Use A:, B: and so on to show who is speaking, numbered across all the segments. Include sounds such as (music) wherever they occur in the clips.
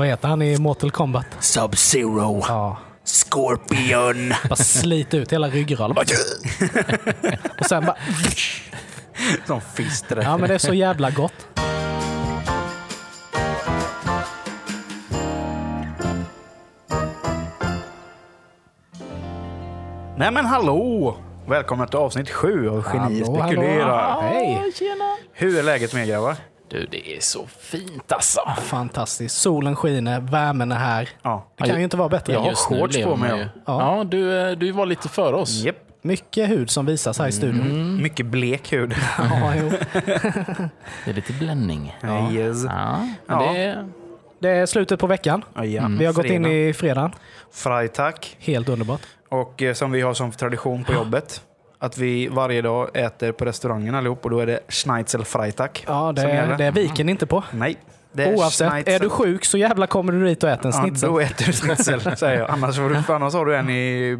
A: Vad heter han i Mortal
B: (laughs)
A: Kombat?
B: Sub-Zero.
A: Ja.
B: Scorpion.
A: Bara slita ut hela ryggraden. Bara-
B: (laughs)
A: Och sen bara...
B: (laughs) Som fister.
A: Ja, men det är så jävla gott.
B: Nej men hallå! Välkomna till avsnitt sju av Geni
A: Hallå, hallå.
B: spekulerar.
A: Hej!
B: Hur är läget med er grabbar?
C: Du, det är så fint alltså.
A: Fantastiskt. Solen skiner, värmen är här.
B: Ja.
A: Det kan ju inte vara bättre.
B: Jag har
C: nu
B: shorts
C: lever
B: på mig,
C: man ju.
B: ja.
C: Ja, du, eh, du var lite före oss.
B: Japp.
A: Mycket hud som visas här i studion.
B: Mycket blek hud. (laughs)
A: Ja, jo.
C: Det är lite bländning.
B: Yes.
C: Ja, men
B: Ja.
C: det är...
A: Det är slutet på veckan.
B: Ja, ja.
A: Mm. Vi har gått in
B: Mm. Fredag.
A: i fredagen.
B: Freitag.
A: Helt underbart.
B: Och eh, som vi har som tradition på jobbet. Att vi varje dag äter på restaurangen allihop och då är det Schnitzel Freitag.
A: Ja,
B: som
A: det,
B: gäller.
A: det viker inte på.
B: Nej. Det är
A: Oavsett,
B: Schnitzel.
A: är du sjuk så jävla kommer du dit och äter en
B: Ja,
A: schnitzel.
B: då äter du schnitzel, säger jag. Annars, får du, för annars har du en i,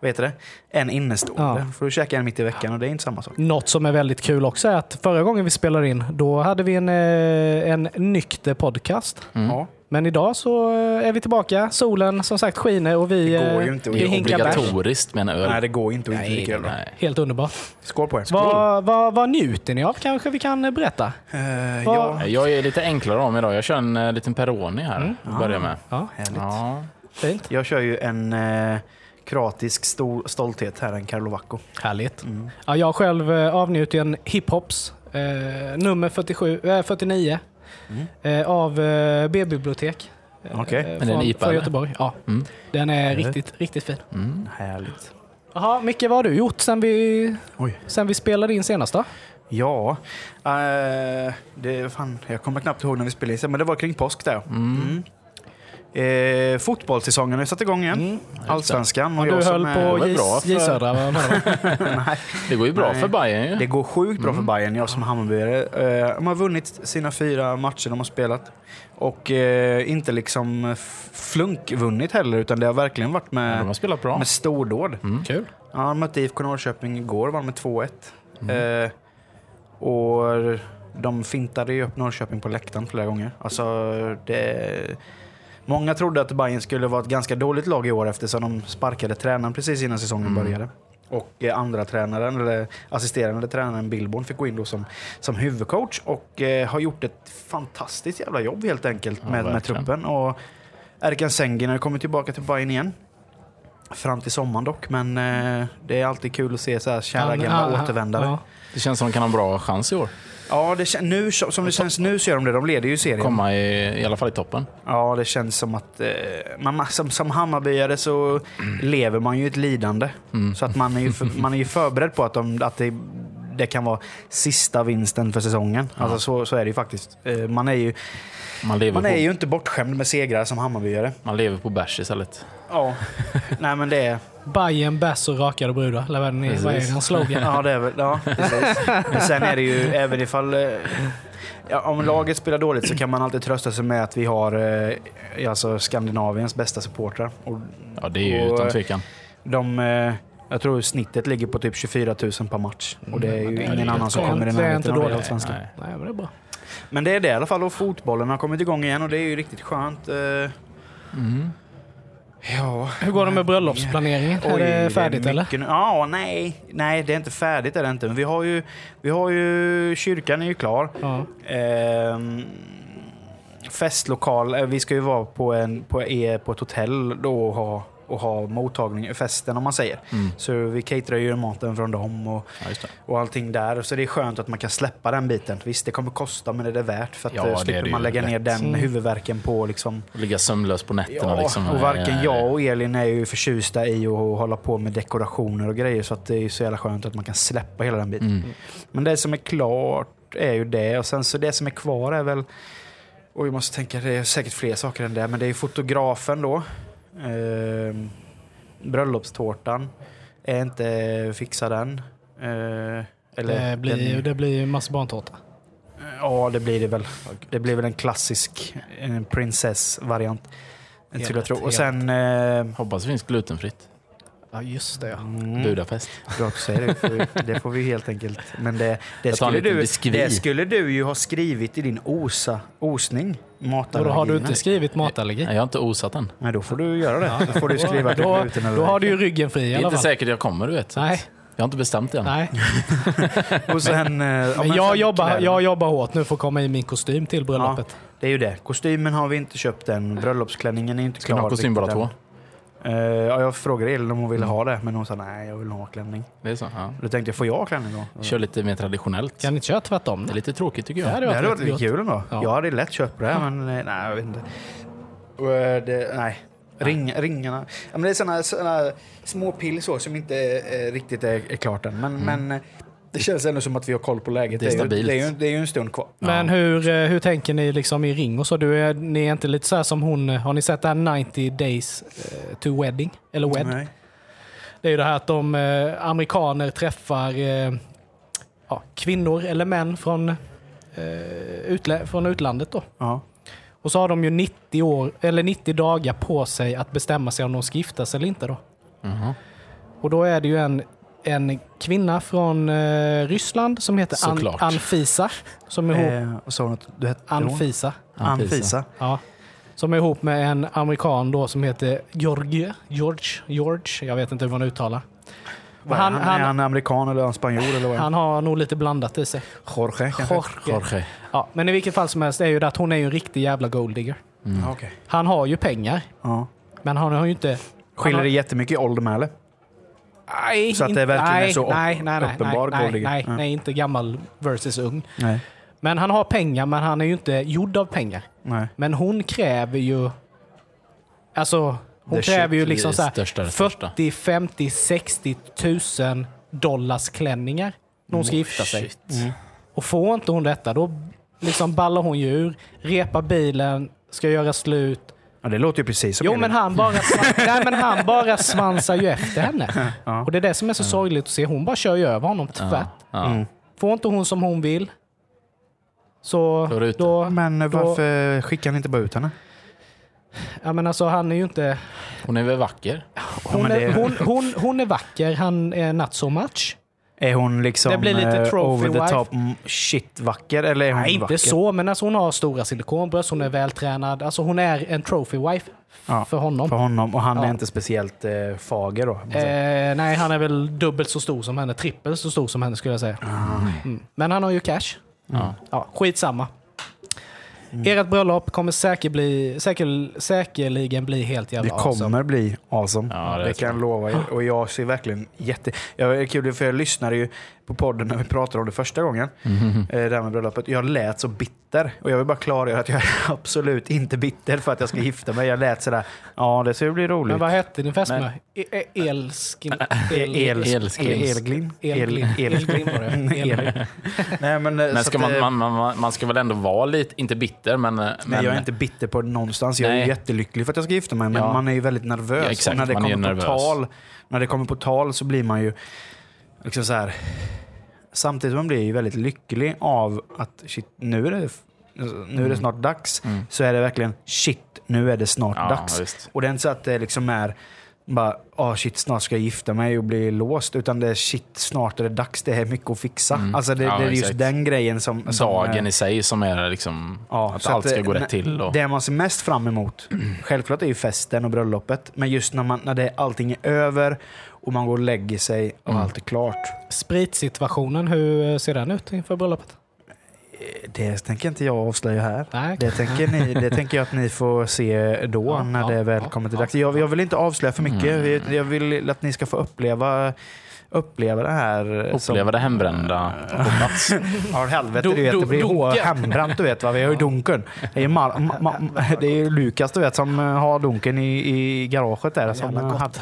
B: vad heter det? En innestående.
A: Ja.
B: Får du käka en mitt i veckan och det är inte samma sak.
A: Något som är väldigt kul också är att förra gången vi spelade in, då hade vi en, eh, en nykter podcast.
B: Ja.
A: Men idag så eh, är vi tillbaka. Solen som sagt skiner och vi,
B: Det går ju
A: eh,
B: inte att
A: vi
B: göra
A: hinkar bärs.
C: obligatoriskt med en öl.
B: Nej, det går inte att inte dricka öl. då.
C: nej.
A: Helt underbart.
B: Skål på er.
A: Vad, vad, vad njuter ni av kanske vi kan eh, berätta?
B: Eh,
A: Vad-
B: ja.
C: Jag är lite enklare om idag. Jag kör en eh, liten Peroni här
B: Mm.
C: att
B: Ah,
C: börja med.
A: Ja,
C: Ja.
A: fint.
B: Jag kör ju en eh, kroatisk stor stolthet här, en Mm. Karlo Vacco.
A: Härligt. Ja, jag själv eh, avnjuter en hiphops, eh, nummer 47, eh, 49, eh, av eh, B-bibliotek. eh,
B: Mm. Okej.
A: eh,
C: den
A: från,
C: IPA,
A: från
C: eller? Mm.
A: Göteborg. Ja. Den är riktigt, riktigt fin.
B: Härligt.
A: Jaha, Micke, vad har du gjort sen vi,
B: Oj.
A: sen vi spelade in senast då?
B: Ja, eh, det, fan, jag kommer knappt ihåg när vi spelade in, men det var kring påsk där. Mm. Eh, fotbollssäsongen har ju satt igång
A: Mm.
B: igen. Allsvenskan. Och
A: Du
B: Mm. jag som
A: höll
B: är,
A: på
C: var
A: J-
C: bra för-
A: J Södra. vad var det?
B: Nej.
C: Det går ju bra
B: Nej.
C: för Bayern ju.
B: Det går sjukt bra
A: Mm.
B: för Bayern, jag som Hammarbyare. Eh, De har vunnit sina fyra matcher de har spelat. Och eh, inte liksom f- flunkvunnit heller, utan det har verkligen varit
C: De
B: med,
C: har spelat bra.
B: med stordåd.
A: Kul.
B: Ja, de mötte IFK Norrköping igår och vann med 2-1.
C: Mm.
B: Eh, och de fintade ju upp Norrköping på läktaren flera gånger. Alltså, det... Många trodde att Bayern skulle vara ett ganska dåligt lag i år eftersom de sparkade tränaren precis innan säsongen
C: Mm.
B: började. Och eh, andra tränaren, eller assisterande tränaren Billborn fick gå in då som, som huvudcoach och eh, har gjort ett fantastiskt jävla jobb helt enkelt
C: Ja,
B: med, med
C: verkligen.
B: truppen. Och Erkan Sengin har kommit tillbaka till Bayern igen. Fram till sommaren dock, men eh, det är alltid kul att se så här kära
A: Han-
B: gamla
A: han- han-
B: återvändare.
A: ja.
C: Det känns som de kan ha en bra chans i år.
B: Ja, det, kän- nu, som det känns nu så gör de det. De leder ju serien.
C: Komma i, i alla fall i toppen.
B: Ja, det känns som att eh, man, som, som Hammarbyare så lever man ju ett lidande.
A: Mm.
B: Så att man är ju, för, man är ju förberedd på att, de, att det, det kan vara sista vinsten för säsongen. Alltså så, så är det ju faktiskt. Eh, man, är ju,
C: Man lever,
B: man är
C: på,
B: ju inte bortskämd med segrar som Hammarbyare.
C: man lever på bärs istället.
B: Ja, nej men det är...
A: Bajen, bärs och rakade brudar. Eller vad är det- vad är
C: Precis.
A: den slogan?
B: (laughs) Ja, det är väl, ja precis. Men sen är det ju, även ifall... eh, Ja, om laget spelar dåligt så kan man alltid trösta sig med att vi har eh, alltså Skandinaviens bästa supportrar. Och
C: Ja, det är ju
B: Och-
C: utan tvekan.
B: De, eh, jag tror snittet ligger på typ 24 000 per match. Och det är ju
C: det är
B: ingen
C: ju
B: annan som
A: jättebra.
B: kommer i
A: Mm, Det är
B: närheten
A: inte
B: av det
A: dåligt.
B: allsvenskan.
A: Nej,
C: Nej.
A: men det är bra.
B: Men det är det i alla fall. Och fotbollen har kommit igång igen och det är ju riktigt skönt. eh.
A: Mm.
B: Ja.
A: Hur går det med bröllopsplaneringen?
B: Oj,
A: är det färdigt
B: mycket
A: eller?
B: nu. Ja, nej. Nej, det är inte färdigt är det inte. Men vi har ju, vi har ju kyrkan är ju klar.
A: Ja.
B: Ehm, festlokal. eh, Vi ska ju vara på, en, på, e, på ett hotell då och ha, och ha mottagning, festen om man säger.
C: Mm.
B: Så vi caterar ju maten från dem och,
C: Ja, just det.
B: och allting där. Så det är skönt att man kan släppa den biten. Visst, det kommer kosta men det är det värt för att
C: Ja,
B: ja,
C: det är
B: slipper
C: det ju
B: man lägga ner
C: lätt.
A: Mm.
B: den huvudvärken på liksom
C: Och ligga sömnlös på nätterna.
B: Ja,
C: liksom.
B: och varken
C: Eh,
B: jag och Elin är ju förtjusta i att hålla på med dekorationer och grejer. Så att det är ju så jävla skönt att man kan släppa hela den biten.
C: Mm.
B: Men det som är klart är ju det. Och sen så det som är kvar är väl... Och jag måste tänka, det är säkert fler saker än det. Men det är ju fotografen då. Ehm, bröllopstårtan är inte fixad än. Ehm, eller
A: Det blir, ju-
B: den-
A: det blir ju marsipantårta.
B: Ja, det blir det väl. Det blir väl en klassisk eh, prinsess-variant. Skulle jag
A: Helt,
B: tro. Och
A: helt.
B: sen... Eh,
C: Hoppas det finns glutenfritt.
A: Ja, just det ja.
C: Budapest.
B: Bra att mm, du säger det, för det får vi helt enkelt. Men det, det,
C: Jag tar en
B: skulle
C: liten
B: du,
C: biskvi.
B: det skulle du ju ha skrivit i din osa, osning.
A: Och då
B: matallergierna.
A: har du inte skrivit matallergi.
C: Nej, jag har inte osat än.
B: Nej, då får du göra det. Då får du skriva att du är
A: Då,
B: gluten
A: då har du ju ryggen fri i
C: Det är
A: alla
C: inte
A: fall.
C: säkert jag kommer, du vet. Så
A: Nej,
C: att Jag har inte bestämt det än.
A: nej.
B: Och sen... eh, ja,
A: Men
B: men
A: jag
B: sen
A: jobbar,
B: kläderna.
A: jag jobbar hårt nu för att komma i min kostym till bröllopet.
B: Det är ju det. Kostymen har vi inte köpt än. Bröllopsklänningen är inte
C: Ska
B: klar.
C: ni ha kostym bara
B: riktigt än.
C: två?
B: Eh, ja, jag frågade Elin om hon ville ha det, men hon sa nej, jag vill ha klänning.
C: Det är så? Ja.
B: Då tänkte jag, får jag ha klänning då?
C: Kör lite mer traditionellt.
A: Kan ni inte köra tvärtom?
C: Det är
A: då?
C: lite tråkigt tycker
A: Det
C: jag.
A: hade
B: Det hade
A: varit
B: varit
A: rätt
B: lite
A: gott.
B: kul ändå.
A: Ja.
B: Jag hade lätt köpt det, men eh, nej, jag vet inte. Och, eh, det, nej. Ring, ringarna. Ja, men det är såna, såna små pill så som inte eh, riktigt är, är klart än. Men, men eh, det känns ändå som att vi har koll på läget.
C: Det är stabilt.
B: Ju, det, är ju, det är ju en stund kvar.
A: Men hur, eh, hur tänker ni liksom i ring och så? Du är, ni är inte lite så här som hon, eh, har ni sett det här 90 days eh, to wedding? Eller wed?
B: Nej.
A: Det är ju det här att de eh, amerikaner träffar eh, ja, kvinnor eller män från, eh, utlä- från utlandet då.
B: Ja.
A: Och så har de ju 90, år, eller 90 dagar på sig att bestämma sig om de ska gifta sig eller inte då.
C: Mhm.
A: Och då är det ju en, en kvinna från eh, Ryssland som heter An-
C: Såklart.
A: Anfisa. Som är ihop,
B: Eh, och sa hon att du hette hon?
A: Anfisa.
C: Anfisa.
B: Anfisa.
A: Ja. Som är ihop med en amerikan då som heter George. George, George jag vet inte hur man uttalar.
B: Vad är
A: Han-
B: han,
A: han-
B: är han amerikan eller är han spanjor? Eller vad är
A: Han
B: han?
A: har nog lite blandat i sig.
B: Jorge kanske?
C: Jorge.
A: Ja, men i vilket fall som helst är ju det att hon är ju en riktig jävla golddigger.
B: Ja, Mm, okej.
A: Han har ju pengar,
B: Ja.
A: men han har ju inte...
B: Skiljer det jättemycket i ålder med eller?
A: Nej,
B: Så att det
A: inte-
B: verkligen är
A: nej,
B: så
A: nej, nej, nej,
B: uppenbar
A: nej, nej,
B: golddigger.
A: nej,
B: Ja.
A: nej, inte gammal versus ung.
B: Nej.
A: Men han har pengar, men han är ju inte gjord av pengar.
B: Nej.
A: Men hon kräver ju... Alltså, hon
B: The
A: kräver ju
C: shit
A: liksom
C: i
A: så här
C: största, det största.
A: 40, 50, 60 tusen dollars klänningar när hon ska gifta sig.
C: Shit.
A: Och får inte hon detta, då liksom ballar hon ju ur, repar bilen, ska göra slut.
B: Ja, det låter ju precis som
A: Jo,
B: Elin.
A: men han bara,
C: (laughs)
A: svan- Nej, men han bara svansar ju efter henne. Och det är det som är så sorgligt att se. Hon bara kör ju över honom tvärt.
C: Ja.
A: Får inte hon som hon vill, så
C: Då är det ute.
A: då...
B: Men eh,
A: då-
B: varför skickar ni inte bara ut henne?
A: Ja, men alltså, han är ju inte...
C: Hon är väl vacker?
A: Hon,
B: men
A: är,
B: det-
A: hon, hon, hon är vacker, han är not so much.
B: Är hon liksom
A: Det blir lite
B: eh,
A: trophy
B: over the
A: wife.
B: top mm, shit vacker eller är hon
A: Nej, inte
B: vacker?
A: så, men alltså, hon har stora silikonbröst, hon är vältränad. Alltså, hon är en trophy wife
B: Ja,
A: för honom.
B: För honom och han
A: Ja.
B: är inte speciellt eh, fager då. om man säger.
A: Eh, nej, han är väl dubbelt så stor som henne. Trippelt så stor som henne skulle jag säga. Mm. Men han har ju cash.
C: Ja.
A: Ja, Mm. skitsamma. Ert bröllop kommer säker bli, säker, säkerligen bli helt jävla
B: Det
A: awesome.
B: kommer bli awesome.
C: Ja, det
B: det
C: är
B: kan jag lova er. Och jag ser verkligen jätte... Jag det är kul för jag lyssnade ju på podden när vi pratade om det första gången.
C: Mm-hmm.
B: Mm. Det här med bröllopet. Jag lät så bitter. Och jag vill bara klargöra att jag är (laughs) absolut inte bitter för att jag ska gifta mig. Jag lät sådär, ja det ska ju bli roligt.
A: Men vad hette din fästmö? E- e- Elskin... El,
C: Elsklings.
B: Elglim.
A: Elglim. Elglim (laughs) var det. Elglim.
B: Nej, men, eh,
C: Men
B: så
C: ska
B: att,
C: man,
B: eh,
C: man, man, man ska väl ändå vara lite, inte bitter, men... Nej,
B: Nej, jag är inte bitter på det någonstans. Jag är
C: Nej.
B: jättelycklig för att jag ska gifta mig, men
C: Ja.
B: man är ju väldigt nervös.
C: Ja, exakt.
B: Och när, det
C: Man är
B: kommer på
C: nervös.
B: Tal, när det kommer på tal så blir man ju liksom så här... Samtidigt som man blir ju väldigt lycklig av att shit, nu är det, nu är
C: Mm.
B: det snart dags, så är det verkligen shit, nu är det snart
C: Ja,
B: dags.
C: visst.
B: Och det är inte så att det liksom är bara, ah shit, snart ska jag gifta mig och bli låst, utan det är shit, snart är det dags, det är mycket att fixa. Alltså det,
C: Mm. Ja,
B: det är just
C: exakt.
B: den grejen som... som eh,
C: Dagen i sig som är liksom...
B: Ja,
C: att
B: så
C: allt ska
B: eh,
C: gå
B: när-
C: rätt till. Och,
B: Det man ser mest fram emot, självklart är ju festen och bröllopet, men just när, man, när det, allting är över och man går och lägger sig
C: Mm.
B: och allt är klart.
A: Spritsituationen, hur ser den ut inför bröllopet?
B: Eh, Det tänker inte jag avslöja här.
A: Nej.
B: Det tänker, ni, det tänker jag att ni får se då
A: Ja,
B: när
A: ja,
B: det väl
A: ja,
B: kommer till
A: ja,
B: dags. Jag, jag vill inte avslöja för mycket.
C: Mm.
B: Jag- Jag vill att ni ska få uppleva, uppleva det här. eh, som-
C: uppleva det hembrända på plats.
B: Ja, helvete
A: Do-
B: du vet.
A: do-
B: Det blir
A: dunken.
B: hå- hembränt du vet. Va? Vi har ju dunken. Det är ju, Mar- ma- ma- det är ju Lukas du vet som eh, har dunken i, i garaget där. Som
A: Jävla
B: eh,
A: gott.
B: hade-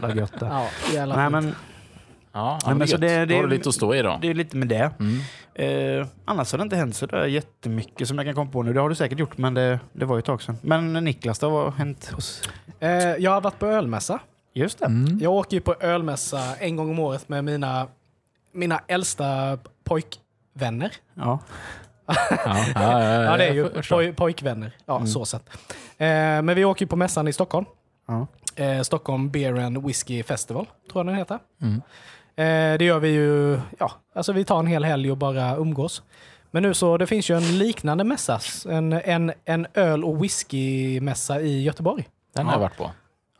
B: Jävla gött. där.
A: Ja, jävla
B: Nej,
A: fint.
B: men
C: Ja,
B: Nej,
C: men
B: men så
C: gött.
B: det-
C: Då
B: det-
C: har du lite att stå i då.
B: det är lite med det.
C: Mm.
B: Eh, annars har det inte hänt så där jättemycket som jag kan komma på nu. Det har du säkert gjort, men det, det var ju ett tag sedan. Men Niklas, det har hänt hos...
A: Eh, Jag har varit på ölmässa.
B: Just det.
A: Jag åker ju på ölmässa en gång om året med mina, mina äldsta pojkvänner.
B: Ja.
C: Ja, ja, ja,
A: Ja, det är ju
C: jag förstår.
A: poj, pojkvänner. Ja, så sett. Eh, Men vi åker ju på mässan i Stockholm.
B: Ja.
A: Eh, Stockholm Beer and Whiskey Festival, tror jag den heter. Eh, Det gör vi ju, ja, alltså vi tar en hel helg och bara umgås. Men nu så, det finns ju en liknande mässa. En, en, en öl och whiskymässa i Göteborg.
C: Den har jag varit på.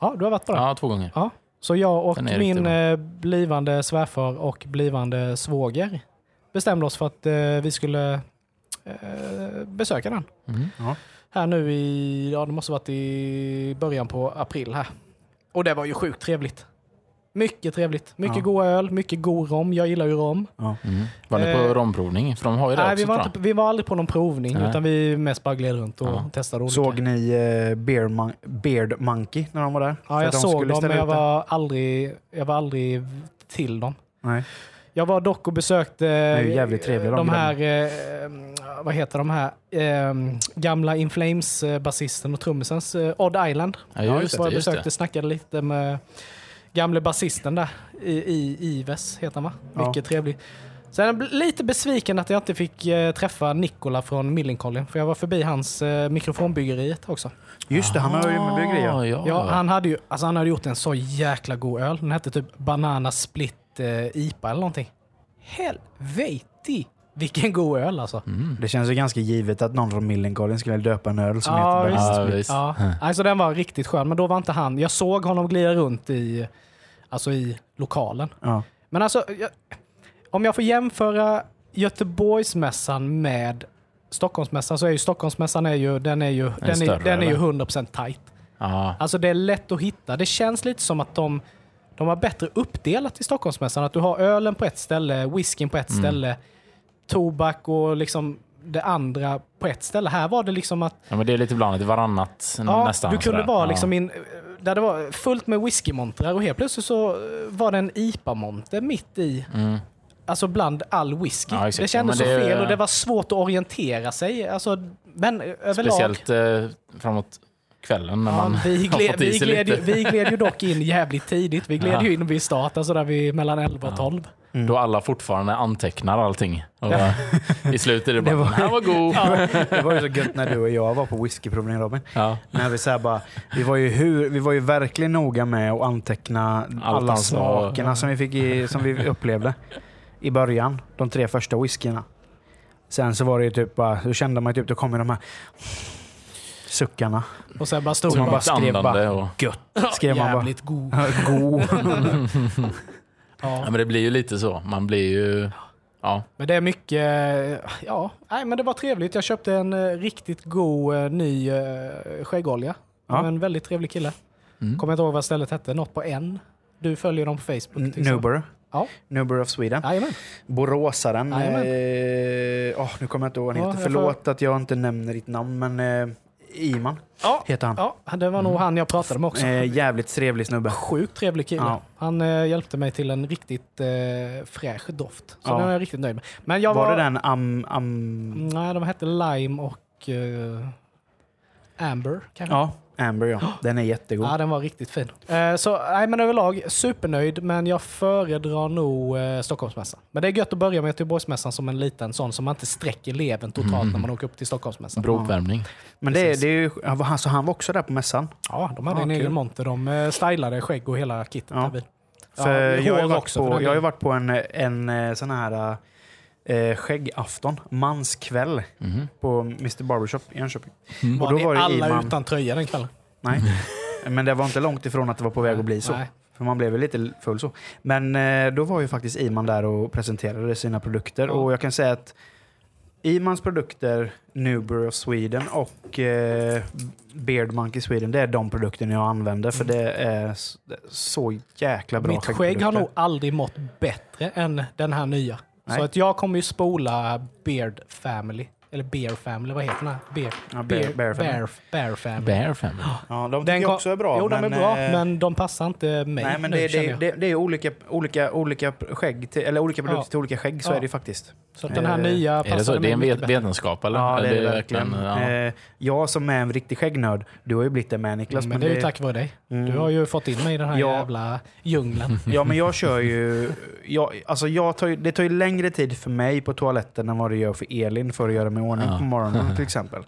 A: Ja, du har varit på den?
C: Ja, två gånger.
A: Ja. Så jag och
C: Den är riktigt
A: min
C: bra.
A: eh, blivande svärfar och blivande svåger bestämde oss för att eh, vi skulle eh, besöka den.
C: Mm.
B: Ja.
A: Här nu i, ja det måste varit i början på april här. Och det var ju sjukt trevligt. Mycket trevligt. Mycket
B: Ja.
A: god öl, mycket god rom. Jag gillar ju rom.
C: Mm. Var ni på
A: Eh,
C: romprovning? För de har ju det
A: Nej,
C: också
A: vi var,
C: tror jag.
A: inte, vi var aldrig på någon provning
C: Nej.
A: utan vi mest bara gled runt och
C: Ja.
A: testade olika.
B: Såg ni eh, Beard, Mon- Beard Monkey när de var där? För
A: ja, jag
B: de
A: såg
B: skulle
A: dem
B: ställa
A: men jag
B: ut det.
A: var, aldrig, jag var aldrig till dem.
B: Nej.
A: Jag var dock och besökte
B: är ju jävligt trevliga,
A: de,
B: de
A: de här, eh, vad heter de här, eh, gamla In Flames eh, basisten och trummisens eh, Odd Island.
C: Ja, just
A: var
C: det.
A: jag
C: Just
A: besökte,
C: det.
A: snackade lite med gamle basisten där, i, i, Ives heter han va?
B: Ja.
A: Mycket trevlig. Sen är jag bl- lite besviken att jag inte fick eh, träffa Nikola från Millencolin, för jag var förbi hans eh, mikrofonbyggeriet också.
B: Just det, han har ju med
C: Ah,
B: bryggerier.
C: ja.
A: Ja, han, hade ju, alltså han hade gjort en så jäkla god öl. Den hette typ Banana Split eh, IPA eller någonting. Helvete! Vilken god öl alltså.
B: Det känns ju ganska givet att någon från Millencolin skulle döpa en öl som
A: Ja,
B: heter
A: visst.
B: Banana
C: Ja,
B: Split.
C: visst.
A: Ja, alltså den var riktigt skön, men då var inte han. Jag såg honom glida runt i, alltså i lokalen.
B: Ja. (laughs)
A: Men alltså, jag, om jag får jämföra Göteborgsmässan med Stockholmsmässan så är ju Stockholmsmässan är ju, den är ju, den är,
C: större,
A: den är ju
C: eller?
A: 100% tight.
C: Ja.
A: Alltså det är lätt att hitta. Det känns lite som att de, de har bättre uppdelat i Stockholmsmässan. Att du har ölen på ett ställe, whiskyn på
C: Mm.
A: ett ställe, tobak och liksom det andra på ett ställe. Här var det liksom att
C: ja, men det är lite blandat. Varannat
A: ja,
C: Mm, nästan.
A: du kunde
C: sådär.
A: vara
C: Ja.
A: liksom in, där det var fullt med whiskymontrar och helt plötsligt så eh, var det en IPA-monter mitt i.
C: Mm.
A: Alltså bland all whisky.
C: Ja, exakt.
A: det kändes
C: Ja, men
A: så
C: det-
A: fel och det var svårt att orientera sig. Alltså, men överlag.
C: Speciellt eh, framåt kvällen när
A: Ja,
C: man
A: vi,
C: (laughs) har
A: gled,
C: fått i
A: vi,
C: sig
A: gled ju,
C: lite.
A: vi gled ju dock in jävligt tidigt. Vi gled
C: Ja.
A: ju in vid start, alltså där vi mellan 11 och 12.
C: Då alla fortfarande antecknar allting. Och (laughs) I
A: (laughs)
C: slutet är det bara,
B: Det var-
C: den här var god. Ja.
B: Det var ju så gött när du och jag var på whiskyprovning Robin.
C: Ja.
B: När vi, så här bara, vi, var ju hur, vi var ju verkligen noga med att anteckna alla
C: han
A: alltså.
C: sa.
B: smakerna som vi, fick i, som vi upplevde i början. De tre första whiskyerna. Sen så var det ju typ bara, då kände man ju typ, då kom ju de här suckarna.
A: Och sen bara stod
B: Så man
A: man
B: bara skrev
C: Andande
B: bara
C: och...
B: gött. Skrev man (laughs) bara.
A: jävligt god. (laughs)
B: God.
C: Ja,
A: Ja.
C: men det blir ju lite så. Man blir ju... Ja,
A: Men det är mycket, eh, ja, nej men det var trevligt. Jag köpte en eh, riktigt god eh, ny eh, skäggolja.
B: Ja.
A: Av En väldigt trevlig kille.
C: Mm.
A: Kommer inte ihåg vad stället hette, något på N. Du följer dem på Facebook. till exempel.
B: Nuber.
A: Typ Ja,
B: Nuber of Sweden.
A: jajamän.
B: Boråsaren. Eh,
A: Jajamän.
B: åh, nu kommer jag inte ihåg vad han
A: Ja,
B: heter.
A: jag får-
B: Förlåt att jag inte nämner ditt namn, men eh, Iman
A: Ja.
B: heter han.
A: ja, det var nog
C: Mm.
A: han jag pratade med också.
B: Eh, jävligt trevlig snubbe.
A: Sjukt trevlig kille.
B: Ja.
A: Han eh, hjälpte mig till en riktigt eh, fräsch doft. Så
B: Ja.
A: den är jag riktigt nöjd med. Men jag
B: Var,
A: var,
B: det den am... am
A: Nej, de hette Lime och eh, Amber kanske.
B: ja,
A: (gasps)
B: Amber ja. Den är jättegod.
A: Ja, den var riktigt fin. Eh, så nej, men överlag supernöjd, men jag föredrar nog eh, Stockholmsmässan. Men det är gött att börja med Göteborgsmässan som en liten sån som man inte sträcker levern totalt när man åker upp till Stockholmsmässan.
C: brouppvärmning.
B: Men det, är- det är ju, ja, vad han- så han var också där på mässan.
A: Ja, de hade
B: Ja,
A: en
B: kul.
A: egen monter. De eh, stylade skägg och hela kittet.
B: Ja.
A: där vid. Ja,
B: För jag, har
A: hår
B: ju varit
A: också, för
B: på,
A: den
B: jag har ju
A: delen.
B: varit på en, en eh, sån här eh, skäggafton, manskväll,
C: Mhm.
B: på Mr Barbershop i Jönköping. Och då
A: Var
B: var
A: ni
B: det
A: alla
B: Iman.
A: utan tröja den kvällen? (laughs)
B: Nej. Men det var inte långt ifrån att det var på väg att bli så.
A: Nej.
B: För man blev väl lite full så. Men eh, då var ju faktiskt Iman där och presenterade sina produkter.
A: Ja.
B: Och jag kan säga att Imans produkter, Newbrew of Sweden och eh, Beard Monkey Sweden, det är de produkterna jag använder. För det är s- så jäkla bra
A: Mm. Mitt skägg har nog aldrig mått bättre än den här nya.
B: Nej.
A: Så att jag kommer ju spola Beard Family. Eller Bear Family, vad heter den här? Bear,
B: Ja, Bear- Bear Family.
A: Bear, Bear Family.
C: Bear family.
B: Ja, de tycker
A: Den
B: jag
A: kom-
B: också är bra.
A: Jo, de är bra,
B: eh,
A: men de passar inte mig
B: Nej, men
A: nu,
B: det,
A: känner
B: det,
A: jag.
B: det, det är olika, olika, olika, skägg till, eller olika produkter
A: Ja.
B: till olika skägg, så
A: Ja.
B: är det ju faktiskt.
A: Så att den här
B: Eh,
A: nya
C: Är det så?
A: passade
C: Det är
A: mig
C: en
A: mycket
C: vet-
A: bättre.
C: vetenskap eller?
B: Ja, det är
C: Eller
B: det verkligen.
C: ja.
B: Eh, jag som är en riktig skäggnörd, du har ju blivit det med Niklas.
A: Mm, Men det är ju tack vare dig. Du har ju fått in mig i den här
B: Ja.
A: jävla djungeln.
B: Ja, men jag kör ju... Jag, alltså jag tar ju det tar ju längre tid för mig på toaletten än vad det gör för Elin för att göra mig i ordning
C: Ja.
B: på morgonen till exempel.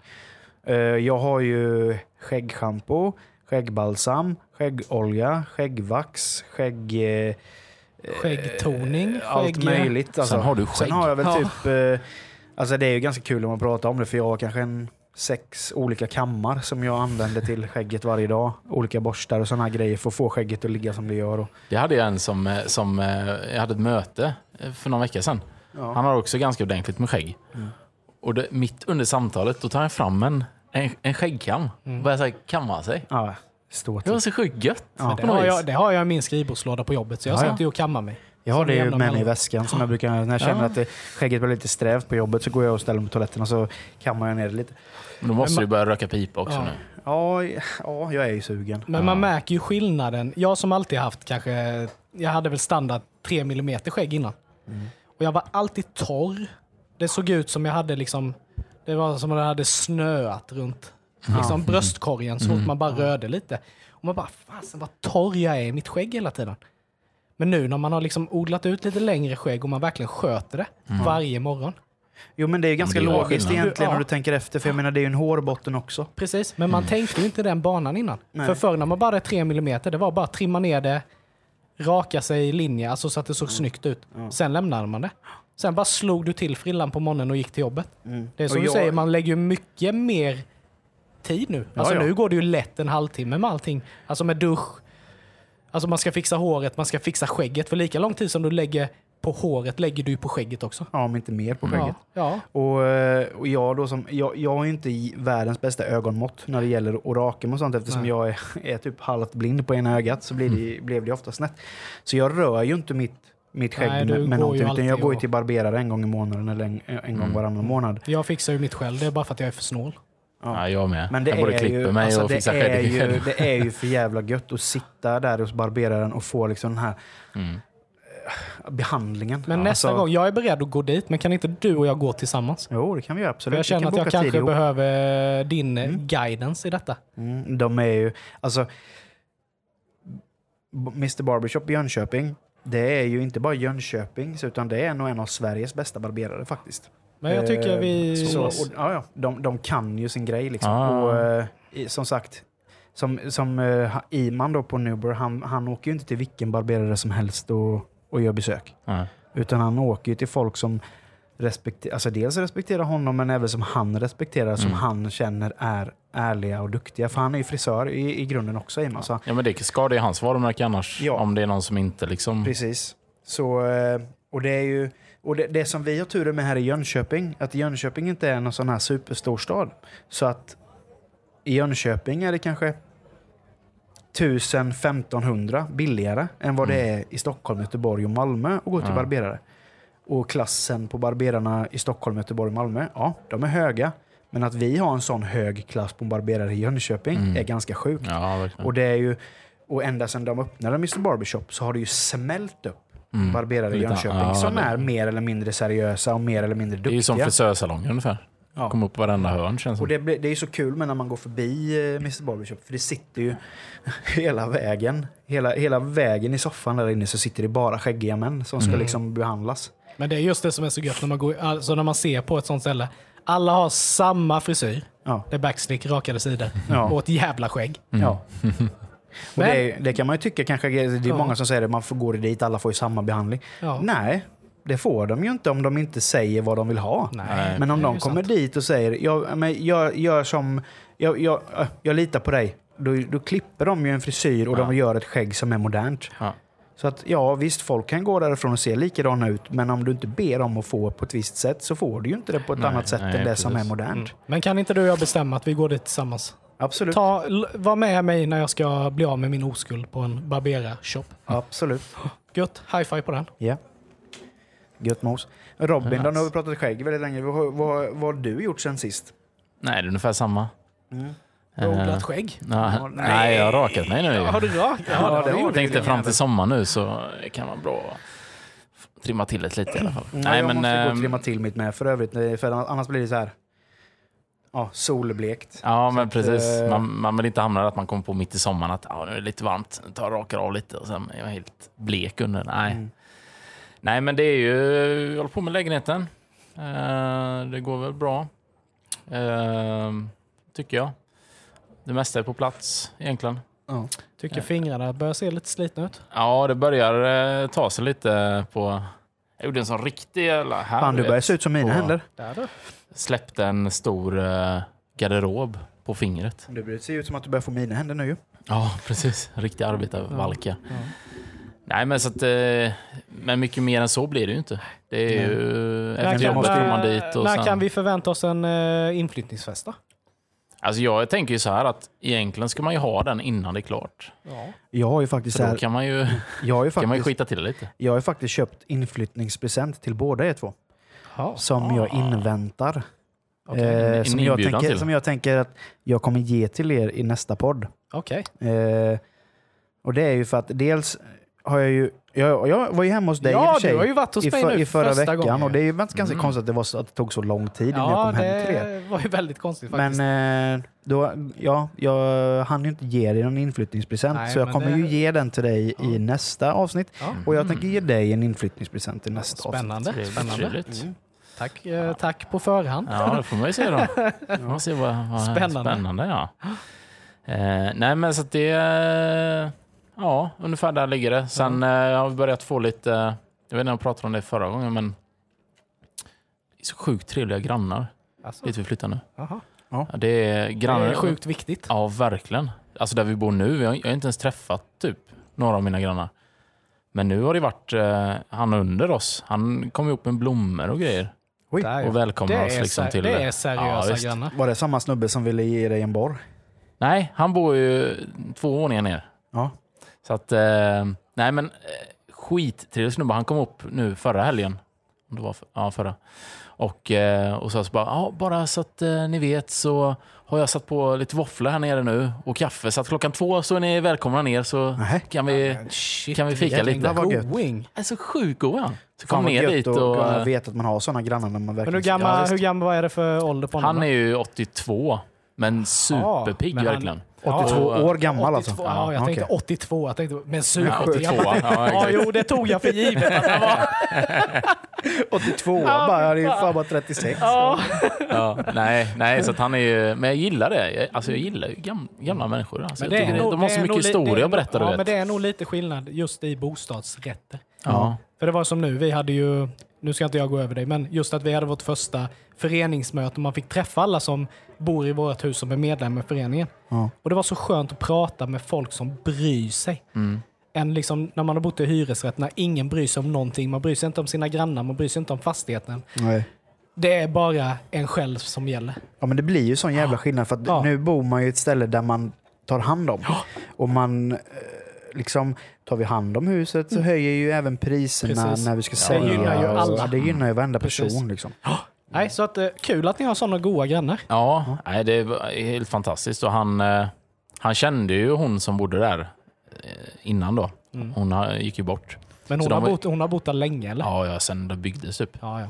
B: Eh, jag har ju skäggschampo, skäggbalsam, skäggolja, skäggvax, skägg... eh,
A: Skäggtoning,
B: Allt
A: skägg-
B: möjligt. Alltså.
C: Sen har du skägg.
B: Sen har jag väl
A: Ja.
B: typ... eh, Alltså det är ju ganska kul om man pratar om det, för jag har kanske en sex olika kammar som jag använder till skägget varje dag. Olika borstar och sådana grejer för att få skägget att ligga som det gör. Och,
C: Jag hade ju en som, eh, som eh, jag hade ett möte eh, för någon vecka sedan.
B: ja. Mm.
C: Han har också ganska ordentligt med skägg. Och det, mitt under samtalet, då tar han fram en, en, en skäggkam
B: Mm.
C: och börjar så här kamma sig.
B: Ja, stå
C: Det
B: till.
C: var så sjukt gött.
B: Ja.
C: på
A: Det
C: något
A: har,
C: vis.
A: jag, det har jag i min skrivbordslåda på jobbet, så jag
B: Ja, ja.
A: satt ju och kammade mig.
B: Jag har
A: Som
B: det ju
A: jävla
B: med mig i
A: mellan.
B: väskan som jag brukar, när jag känner att det, skägget blir lite strävt på jobbet så går jag och ställer mig på toaletten och så kammar jag ner det lite.
C: Men då måste du börja röka pipa också
A: Ja.
C: nu.
B: Ja, ja jag är ju sugen.
A: Men man märker ju skillnaden. Jag som alltid haft kanske, jag hade väl standard 3 mm skägg innan. Och jag var alltid torr. Det såg ut som jag hade liksom, det var som om det hade snöat runt liksom bröstkorgen så fort man bara rörde lite. Och man bara, fasen vad torr jag är i mitt skägg hela tiden. Men nu när man har liksom odlat ut lite längre skägg och man verkligen sköter det varje morgon.
B: Jo men det är ju ganska
C: Det gör
B: logiskt
C: skillnad.
B: egentligen
A: Ja.
B: om du tänker efter för jag menar det är ju en hårbotten också.
A: Precis, men man tänkte ju inte den banan innan.
B: Mm. Nej.
A: För förr när man bara hade 3 mm, det var bara att trimma ner det, raka sig i linje, alltså så att det såg snyggt ut. Sen lämnade man det. Sen bara slog du till frillan på morgonen och gick till jobbet. Det är som
B: Mm. Och
A: du
B: jag-
A: säger, man lägger ju mycket mer tid nu. Alltså
B: ja.
A: nu går det ju lätt en halvtimme med allting. Alltså med dusch, alltså man ska fixa håret, man ska fixa skägget. För lika lång tid som du lägger på håret lägger du ju på skägget också.
B: Ja, om inte mer på skägget.
A: Ja, ja.
B: Och, eh, och jag då som, jag, jag har ju inte i världens bästa ögonmått när det gäller orakel och sånt eftersom
A: Nej. Mm.
B: jag är, är typ halvt blind på ena ögat så blir det, blev det ofta snett. Så jag rör ju inte mitt, mitt skägg
A: Nej, du
B: med,
A: går ju
B: med någonting utan
A: alltid
B: jag går ju
A: och- Mm.
B: till barberare en gång i månaden eller en, en gång varannan månad.
A: Jag fixar ju mitt själv, det är bara för att jag är för snål.
B: Ja.
C: Ja, jag med.
B: Men det
C: jag både
B: är,
C: klipper
B: ju,
C: mig
B: alltså
C: och
B: det,
C: fixar
B: är
C: skägget
B: ju,
C: själv.
B: det är ju för jävla gött att sitta där hos barberaren och få liksom den här
C: Mm.
B: eh, behandlingen.
A: Men
B: Ja,
A: nästa
B: alltså-
A: gång, jag är beredd att gå dit, men kan inte du och jag gå tillsammans?
B: Jo, det kan vi göra absolut.
A: För jag
B: Vi
A: känner
B: kan
A: att jag
B: boka tid
A: kanske
B: ihop.
A: behöver din eh, guidance i detta.
B: Mm, de är ju, alltså, B- Mr Barbershop i Jönköping, det är ju inte bara Jönköpings, utan det är nog en av Sveriges bästa barberare faktiskt.
A: Men jag tycker
B: Eh,
A: vi...
B: Så, och, ja, ja, de, de kan ju sin grej liksom.
C: Ah.
B: Och, eh, i- som sagt, som, som eh, ha- Iman då på Newbur, han, han åker ju inte till vilken barberare som helst och, och gör besök.
C: Ja.
B: Utan han åker ju till folk som respekterar, alltså dels respekterar honom men även som han respekterar, som han känner är ärliga och duktiga. För han är ju frisör i, i grunden också Iman. Så,
C: ja, men det skadar ju hans varumärke annars.
B: Ja.
C: Om det är någon som inte liksom...
B: precis. Så, eh, och det är ju, och det, det som vi har turen med här i Jönköping, att Jönköping inte är någon sån här superstorstad. Så att i Jönköping är det kanske 1000-1500 billigare än vad det är i Stockholm, Göteborg och Malmö att gå till
C: Mm. Ja.
B: barberare. Och klassen på barberarna i Stockholm, Göteborg och Malmö, ja, de är höga. Men att vi har en sån hög klass på en barberare i Jönköping
C: Mm.
B: är ganska sjukt.
C: Ja, verkligen.
B: Och det är ju, och ända sedan de öppnade Mr Barbershop så har det ju smält upp
C: Mm.
B: barberare i
C: Lite-
B: Jönköping
C: ja,
B: som
C: det-
B: är mer eller mindre seriösa och mer eller mindre
C: Det är
B: duktiga.
C: ju som frisörsalonger ungefär.
B: Ja.
C: Kom upp på varenda hörn känns
B: Och
C: som.
B: det, blir- det är ju så kul med när man går förbi eh, Mr Barbershop, för det sitter ju (laughs) hela vägen. Hela, hela vägen i soffan där inne så sitter det bara skäggiga män som ska
C: Mm.
B: liksom behandlas.
A: Men det är just det som är så gött när man, går, alltså när man ser på ett sånt ställe. Alla har samma frisyr.
B: Ja.
A: Det är backslick, rakade sidor
B: Ja.
A: och ett jävla skägg.
C: Mm. (laughs)
B: ja. Och
A: Men-
B: det, är- det kan man ju tycka kanske, det är
A: Ja.
B: många som säger det, man får gå dit, alla får ju samma behandling.
A: Ja.
B: Nej, det får de ju inte om de inte säger vad de vill ha.
A: Nej.
B: Men om
A: det är
B: de
A: ju
B: kommer
A: sant.
B: dit och säger jag, men jag, gör som, jag, jag, äh, jag litar på dig. Då, då klipper de ju en frisyr och de gör ett skägg som är modernt.
C: Ja.
B: Så att ja, visst folk kan gå därifrån och se likadana ut, men om du inte ber om att få på ett visst sätt så får du ju inte det på ett annat sätt
C: nej,
B: än det som är
C: precis.
B: modernt.
A: Men kan inte du och jag bestämma att vi går dit tillsammans?
B: Absolut.
A: Ta, l- var med mig när jag ska bli av med min oskuld på en barberarshop.
B: Absolut.
A: Gött, high five på den.
B: Ja. Gött mos. Robin, då, nu
C: Nice.
B: har vi pratat skägg väldigt länge. Vad, vad, vad har du gjort sen sist?
C: Nej, det är ungefär samma.
A: Du har
C: Eh,
A: odlat skägg.
C: nej.
B: nej.
C: nej, jag har rakat mig nu.
A: Har du rakt? Ja,
B: det
A: det har
B: har
A: du
B: du.
A: gjort.
C: tänkte fram till sommar nu så kan vara bra att trimma till det lite i alla fall.
B: Nej, jag måste gå och
C: ehm,
B: trimma till mitt med för övrigt, eh, för annars blir det så här ja, solblekt.
C: Ja, men precis.
B: eh,
C: Man, man vill inte hamna där att man kommer på mitt i sommaren att ah, nu är det lite varmt, ta och rakar av lite och sen är jag helt blek under. Nej,
B: Mm.
C: Nej men det är ju, jag håller på med lägenheten. Eh, det går väl bra, Eh, tycker jag. Det mesta är på plats egentligen.
B: Ja.
A: Tycker fingrarna börjar se lite slitna ut.
C: Ja, det börjar eh, ta sig lite på... Jag gjorde en sån riktig jävla... Här,
B: Fan, du
C: vet.
B: börjar se ut som mina
C: Och
B: händer.
A: Där du.
C: Släppte en stor eh, garderob på fingret.
B: Du ser ut som att du börjar få mina händer nu ju.
C: Ja, precis. Riktig arbetarvalka.
A: Ja.
C: Nej, men så att... Eh, men mycket mer än så blir det ju inte. Det är
B: Nej.
C: ju...
A: När
C: Efter
B: jag
A: kan,
C: jobbet
B: måste-
C: kommer
A: när,
C: man dit och
A: när
C: sen...
A: kan vi förvänta oss en uh, inflyttningsfest då?
C: Alltså jag tänker ju så här att egentligen ska man ju ha den innan det är klart.
A: Ja.
B: Jag har ju faktiskt,
C: För
B: så
C: då
B: här,
C: kan man ju,
B: jag har ju
C: kan man ju
B: faktiskt,
C: skita till det lite.
B: jag har ju faktiskt köpt inflyttningspresent till båda er två. Som jag inväntar.
A: Okej.
B: Eh,
C: En
B: som, jag
C: inbjudan
B: tänker,
C: till.
B: som jag tänker att jag kommer ge till er i nästa podd.
A: Okej.
B: Eh, och det är ju för att dels har jag ju... Jag, jag var ju hemma hos dig i och
A: Ja,
B: för sig
A: du har ju varit hos
B: i,
A: mig
B: för,
A: nu
B: i förra
A: första
B: veckan
A: gången.
B: och det är ju ganska
C: Mm.
B: konstigt att det, var så, att det tog så lång tid innan jag
A: ja,
B: kom hem till er.
A: det var ju väldigt konstigt faktiskt.
B: Men eh, då, ja, jag hann ju inte ge dig någon inflyttningspresent
A: Nej,
B: så jag
A: men
B: kommer
A: det-
B: ju ge den till dig i nästa avsnitt.
A: ja.
B: Och jag tänker ge dig en inflyttningspresent i nästa avsnitt.
A: Spännande.
C: Trevligt,
A: Spännande.
C: trevligt.
A: Tack, eh, tack på förhand.
C: Ja, det får man
A: (laughs)
C: ju se då. Får Man se vad, vad
A: Spännande.
C: spännande ja. Eh, nej, men så att det... eh, Ja, ungefär där ligger det. Sen eh, har vi börjat få lite... Jag vet inte om jag pratade om det förra gången, men... Det är så sjukt trevliga grannar
A: Alltså,
C: dit vi flyttar nu.
A: jaha.
C: Ja, det är
A: Det
C: grannar...
A: är sjukt viktigt.
C: Ja, verkligen. Alltså där vi bor nu, jag har jag har inte ens träffat typ några av mina grannar. Men nu har det varit eh, han under oss. Han kom ihop med blommor och grejer
B: Oj,
A: Där, ja.
C: och välkomnade oss
A: är
C: liksom
A: ser-
C: till
A: det är seriösa
C: visst.
A: grannar.
B: var det samma snubbe som ville ge dig en borr?
C: Nej, han bor ju två våningar ner.
B: Ja.
C: Så att, eh, nej men eh, skittrevlig snubbe. Han kom upp nu förra helgen. Om Det var för, ja, förra. Och, eh, och så, så bara, ja, bara så att eh, ni vet så har jag satt på lite våfflor här nere nu och kaffe. Så att klockan två så är ni välkomna ner så
B: Nej.
C: kan vi...
A: Shit,
C: Kan vi fika
A: vilken
C: lite?
B: Vad gött.
A: going.
C: är så sjukt god han. Så
B: Fan
C: kom
B: vad
C: ner
B: gött
C: dit
B: att
C: och...
B: kunna veta att man har sådana grannar när man
A: Men hur
B: verkligen...
A: gammal,
B: Ja,
A: hur
B: visst.
A: gammal vad är det för ålder på honom?
C: han är ju 82, men superpigg
A: men han-
C: verkligen.
B: 82
C: Ja,
B: år gammal
A: 82,
B: alltså?
A: Ja, jag tänkte
B: okej.
A: 82. Jag tänkte, men
C: Ja,
A: superpigg.
C: 82,
A: Ja,
C: ja,
A: ja,
C: exakt.
A: jo, det tog jag för
C: (laughs)
A: givet att han var.
B: 82 år bara, det är ju fan bara 36.
A: Ja.
C: Ja, nej, nej, så att han är ju... Men jag gillar det. Jag, alltså jag gillar ju gam, gamla människor. Alltså, jag tycker det, de har så mycket historia att berätta, du
A: Ja,
C: vet.
A: men det är nog lite skillnad just i bostadsrätter.
C: Ja.
A: För det var som nu, vi hade ju, nu ska inte jag gå över dig, men just att vi hade vårt första föreningsmöte och man fick träffa alla som bor i vårt hus som är medlemmar i föreningen.
B: Ja.
A: Och det var så skönt att prata med folk som bryr sig.
C: Mm.
A: Än liksom när man har bott i hyresrätt, när ingen bryr sig om någonting. Man bryr sig inte om sina grannar, man bryr sig inte om fastigheten.
B: Nej.
A: Det är bara en själv som gäller.
B: Ja men det blir ju sån jävla skillnad för att
A: Ja.
B: nu bor man ju i ett ställe där man tar hand om. Och man eh, liksom, tar vi hand om huset så höjer ju även priserna
A: Mm. Precis.
B: när vi ska
A: Ja,
B: sälja.
A: det gynnar ju
B: och-
A: alla.
B: Ja, det gynnar ju varenda
A: Precis.
B: person liksom.
A: Nej, så att, eh, kul att ni har sådana goa grannar.
C: Ja, nej, det var helt fantastiskt. Och han, eh, han kände ju hon som bodde där eh, innan då. Hon har- gick ju bort.
A: Men
C: Så
A: hon
C: de
A: har,
C: var-
A: bott, hon har bott där länge eller?
C: Ja, ja sen det byggdes upp.
A: ja. ja.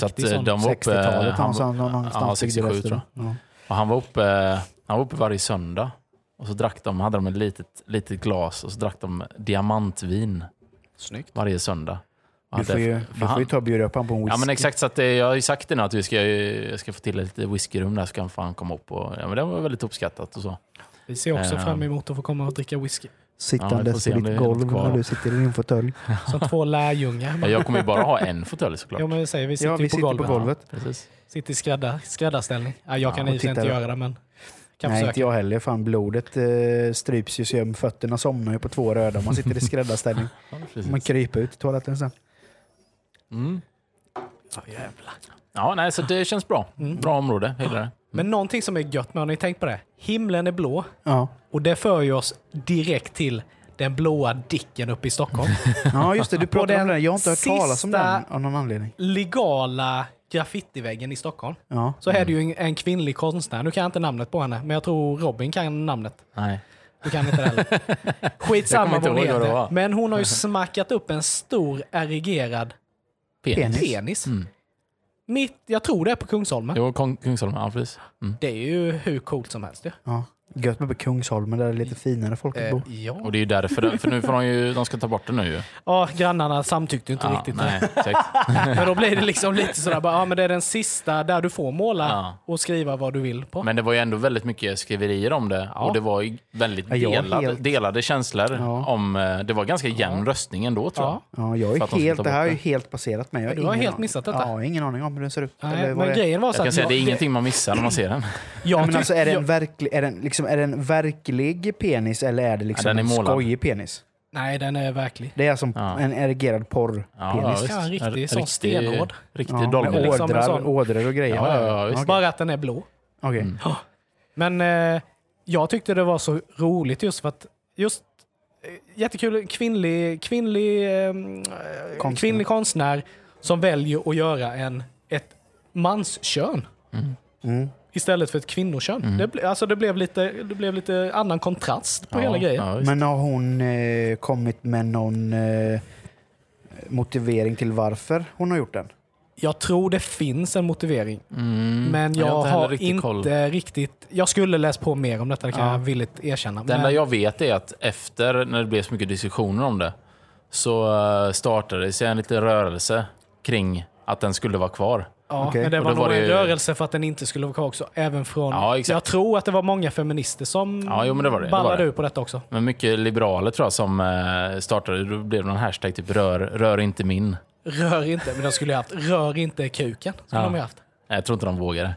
C: Så att,
A: Riktig
C: eh,
A: sån.
C: de var uppe...
B: 60-talet
C: han var-
B: någonstans. någonstans
C: ja,
B: byggde
C: 67
B: resten.
C: tror jag.
B: Ja.
C: Och han var uppe, eh, han var uppe varje söndag. Och så drack de, hade de ett litet, litet glas och så drack de diamantvin
B: Snyggt.
C: varje söndag. Och
B: Du får
C: hade-
B: ju,
C: för
B: du får
C: han-
B: ju ta och bjuda upp honom på en whisky.
C: Ja men exakt, så att det, jag har ju sagt det nu att vi ska, ju- jag ska få till ett litet whiskyrum där så kan fan komma upp och ja, men det var väldigt uppskattat och så.
A: Vi ser också
C: Eh,
A: fram emot att få komma och dricka whisky.
C: Ja, vi får
B: Sittandes
C: se
B: på
C: om det
B: ditt
C: är något
B: golv
C: kvar.
B: när du sitter i din fåtölj.
A: Som
C: (laughs)
A: två lärjungar.
C: Ja,
A: Man-
C: Jag kommer ju bara ha en fåtölj såklart.
A: Jo, men vi säger, vi sitter
B: (laughs) Ja,
A: ju
B: vi
A: på
B: sitter
A: golvet.
B: på golvet.
C: Precis.
A: Sitter i skräddar, skräddarställning. Ja, jag kan
B: Ja,
A: i och för sig
B: och
A: inte
B: tittar då.
A: göra det, men kan
B: Nej,
A: försöka.
B: inte jag heller. Fan, blodet eh, stryps ju så jag- fötterna somnar ju på två röda om man sitter i skräddarställning.
C: (laughs) Ja, precis.
B: Man kryper ut i toaletten sen.
C: Mm. Ja, nej, så det känns bra.
B: Mm.
C: Bra område, jag gillar det.
A: Men någonting som är gött med, har ni tänkt på det? Himlen är blå
B: Ja,
A: och det för ju oss direkt till den blåa dicken uppe i
C: (laughs)
A: Stockholm.
B: ja just det.
A: (laughs)
B: Du pratade
A: den
B: om den. Jag har inte hört talas om
A: sista-
B: den av någon anledning.
A: Legala graffitiväggen i Stockholm.
B: Ja.
A: Så här är det
C: Mm.
A: ju en, en kvinnlig konstnär. Nu kan jag inte namnet på henne, men jag tror Robin kan namnet.
C: Nej.
A: Du kan inte det heller.
C: (laughs)
A: Skitsamma
C: Jag kommer
A: vad
C: inte
A: hon
C: ihåg vad det var.
A: heter. Men hon har
C: (laughs)
A: ju smackat upp en stor erigerad
C: Penis.
B: Penis.
A: penis.
C: Mm.
A: Mitt, jag tror det är på Kungsholmen.
C: Jo, Kung, Kungsholmen, ja precis. Mm.
A: Det är ju hur coolt som helst ju.
B: Ja. Gött med Kungsholmen där det är lite finare folk att bo.
A: Eh, ja.
C: Och det är ju därför, det- för nu får de ju, de ska ta bort det nu ju.
A: ja, grannarna samtyckte ju inte
C: Ja,
A: riktigt.
C: Ah, nej, exakt. (laughs)
A: Men då blir det liksom lite sådär, bara, ja men det är den sista där du får måla
C: Ja.
A: och skriva vad du vill på.
C: Men det var ju ändå väldigt mycket skriverier om det
A: Ja.
C: och det var ju väldigt
B: Ja, jag är
C: delade,
B: helt-
C: delade känslor.
B: Ja.
C: om eh, Det var ganska jämn röstning ändå tror jag.
A: ja.
B: Ja, jag
C: För
B: är
C: att de ska ta
B: helt, det här
C: bort
B: är ju
C: det.
B: helt passerat mig. Jag
A: Du har
B: ingen
A: helt
B: aning-
A: missat detta.
B: Ja, jag har ingen aning om hur den ser ut.
A: Nej,
B: eller vad
A: men
B: det är.
A: grejen var
C: Jag
A: såhär...
B: Alltså,
C: kan säga det är ingenting man missar när man ser den.
A: Jag,
B: Ja, men
A: tyck-
B: alltså, är det, en
A: jag,
B: verklig, är, den, liksom, är det en verklig penis eller är det liksom
C: Ja, den är
B: en
C: målad.
B: skojig penis?
A: nej, den är verklig.
B: Det är som
C: Ja.
B: en erigerad porrpenis.
C: Ja, visst.
A: Ja, en riktig
C: En
A: sån stenhård.
C: Riktig
B: Ja, med
C: dolmen.
A: liksom en
B: ådrar,
A: sån- Mm.
B: ådror och grejer.
C: Ja, ja, ja, visst.
A: Bara att den är blå.
B: Okej.
A: Men eh, jag tyckte det var så roligt just för att just eh, jättekul kvinnlig, kvinnlig, eh,
B: Konstnär.
A: kvinnlig konstnär som väljer att göra en, ett manskön
B: Mm.
A: istället för ett kvinnokön.
C: Mm.
A: Det, ble, alltså det, blev lite, det blev lite annan kontrast på
C: Ja,
A: hela grejen.
C: ja, visst.
B: Men har hon eh, kommit med någon eh, motivering till varför hon har gjort den?
A: Jag tror det finns en motivering,
C: Mm.
A: men
C: Jag
A: jag
C: har inte heller
A: har
C: riktigt
A: inte
C: koll.
A: riktigt... Jag skulle läst på mer om detta, det kan jag villigt erkänna.
C: Det enda
A: men,
C: jag vet är att efter, när det blev så mycket diskussioner om det, så eh, startade det en liten rörelse kring att den skulle vara kvar.
A: ja,
B: Okej.
A: men det
C: Och
A: var
C: då var
A: nog en
C: det ju-
A: rörelse för att den inte skulle vara kvar också. Även från...
C: Ja, exakt.
A: jag tror att det var många feminister som
C: Ja, jo, men det var det, det var
A: ballade
C: det.
A: ur på detta också.
C: Men mycket liberaler tror jag som eh, startade, då blev det någon hashtag typ rör, rör inte min.
A: Rör inte, men de skulle ju haft rör inte kuken. Skulle
C: Ja.
A: de ju haft.
C: Nej, Jag tror inte de vågade.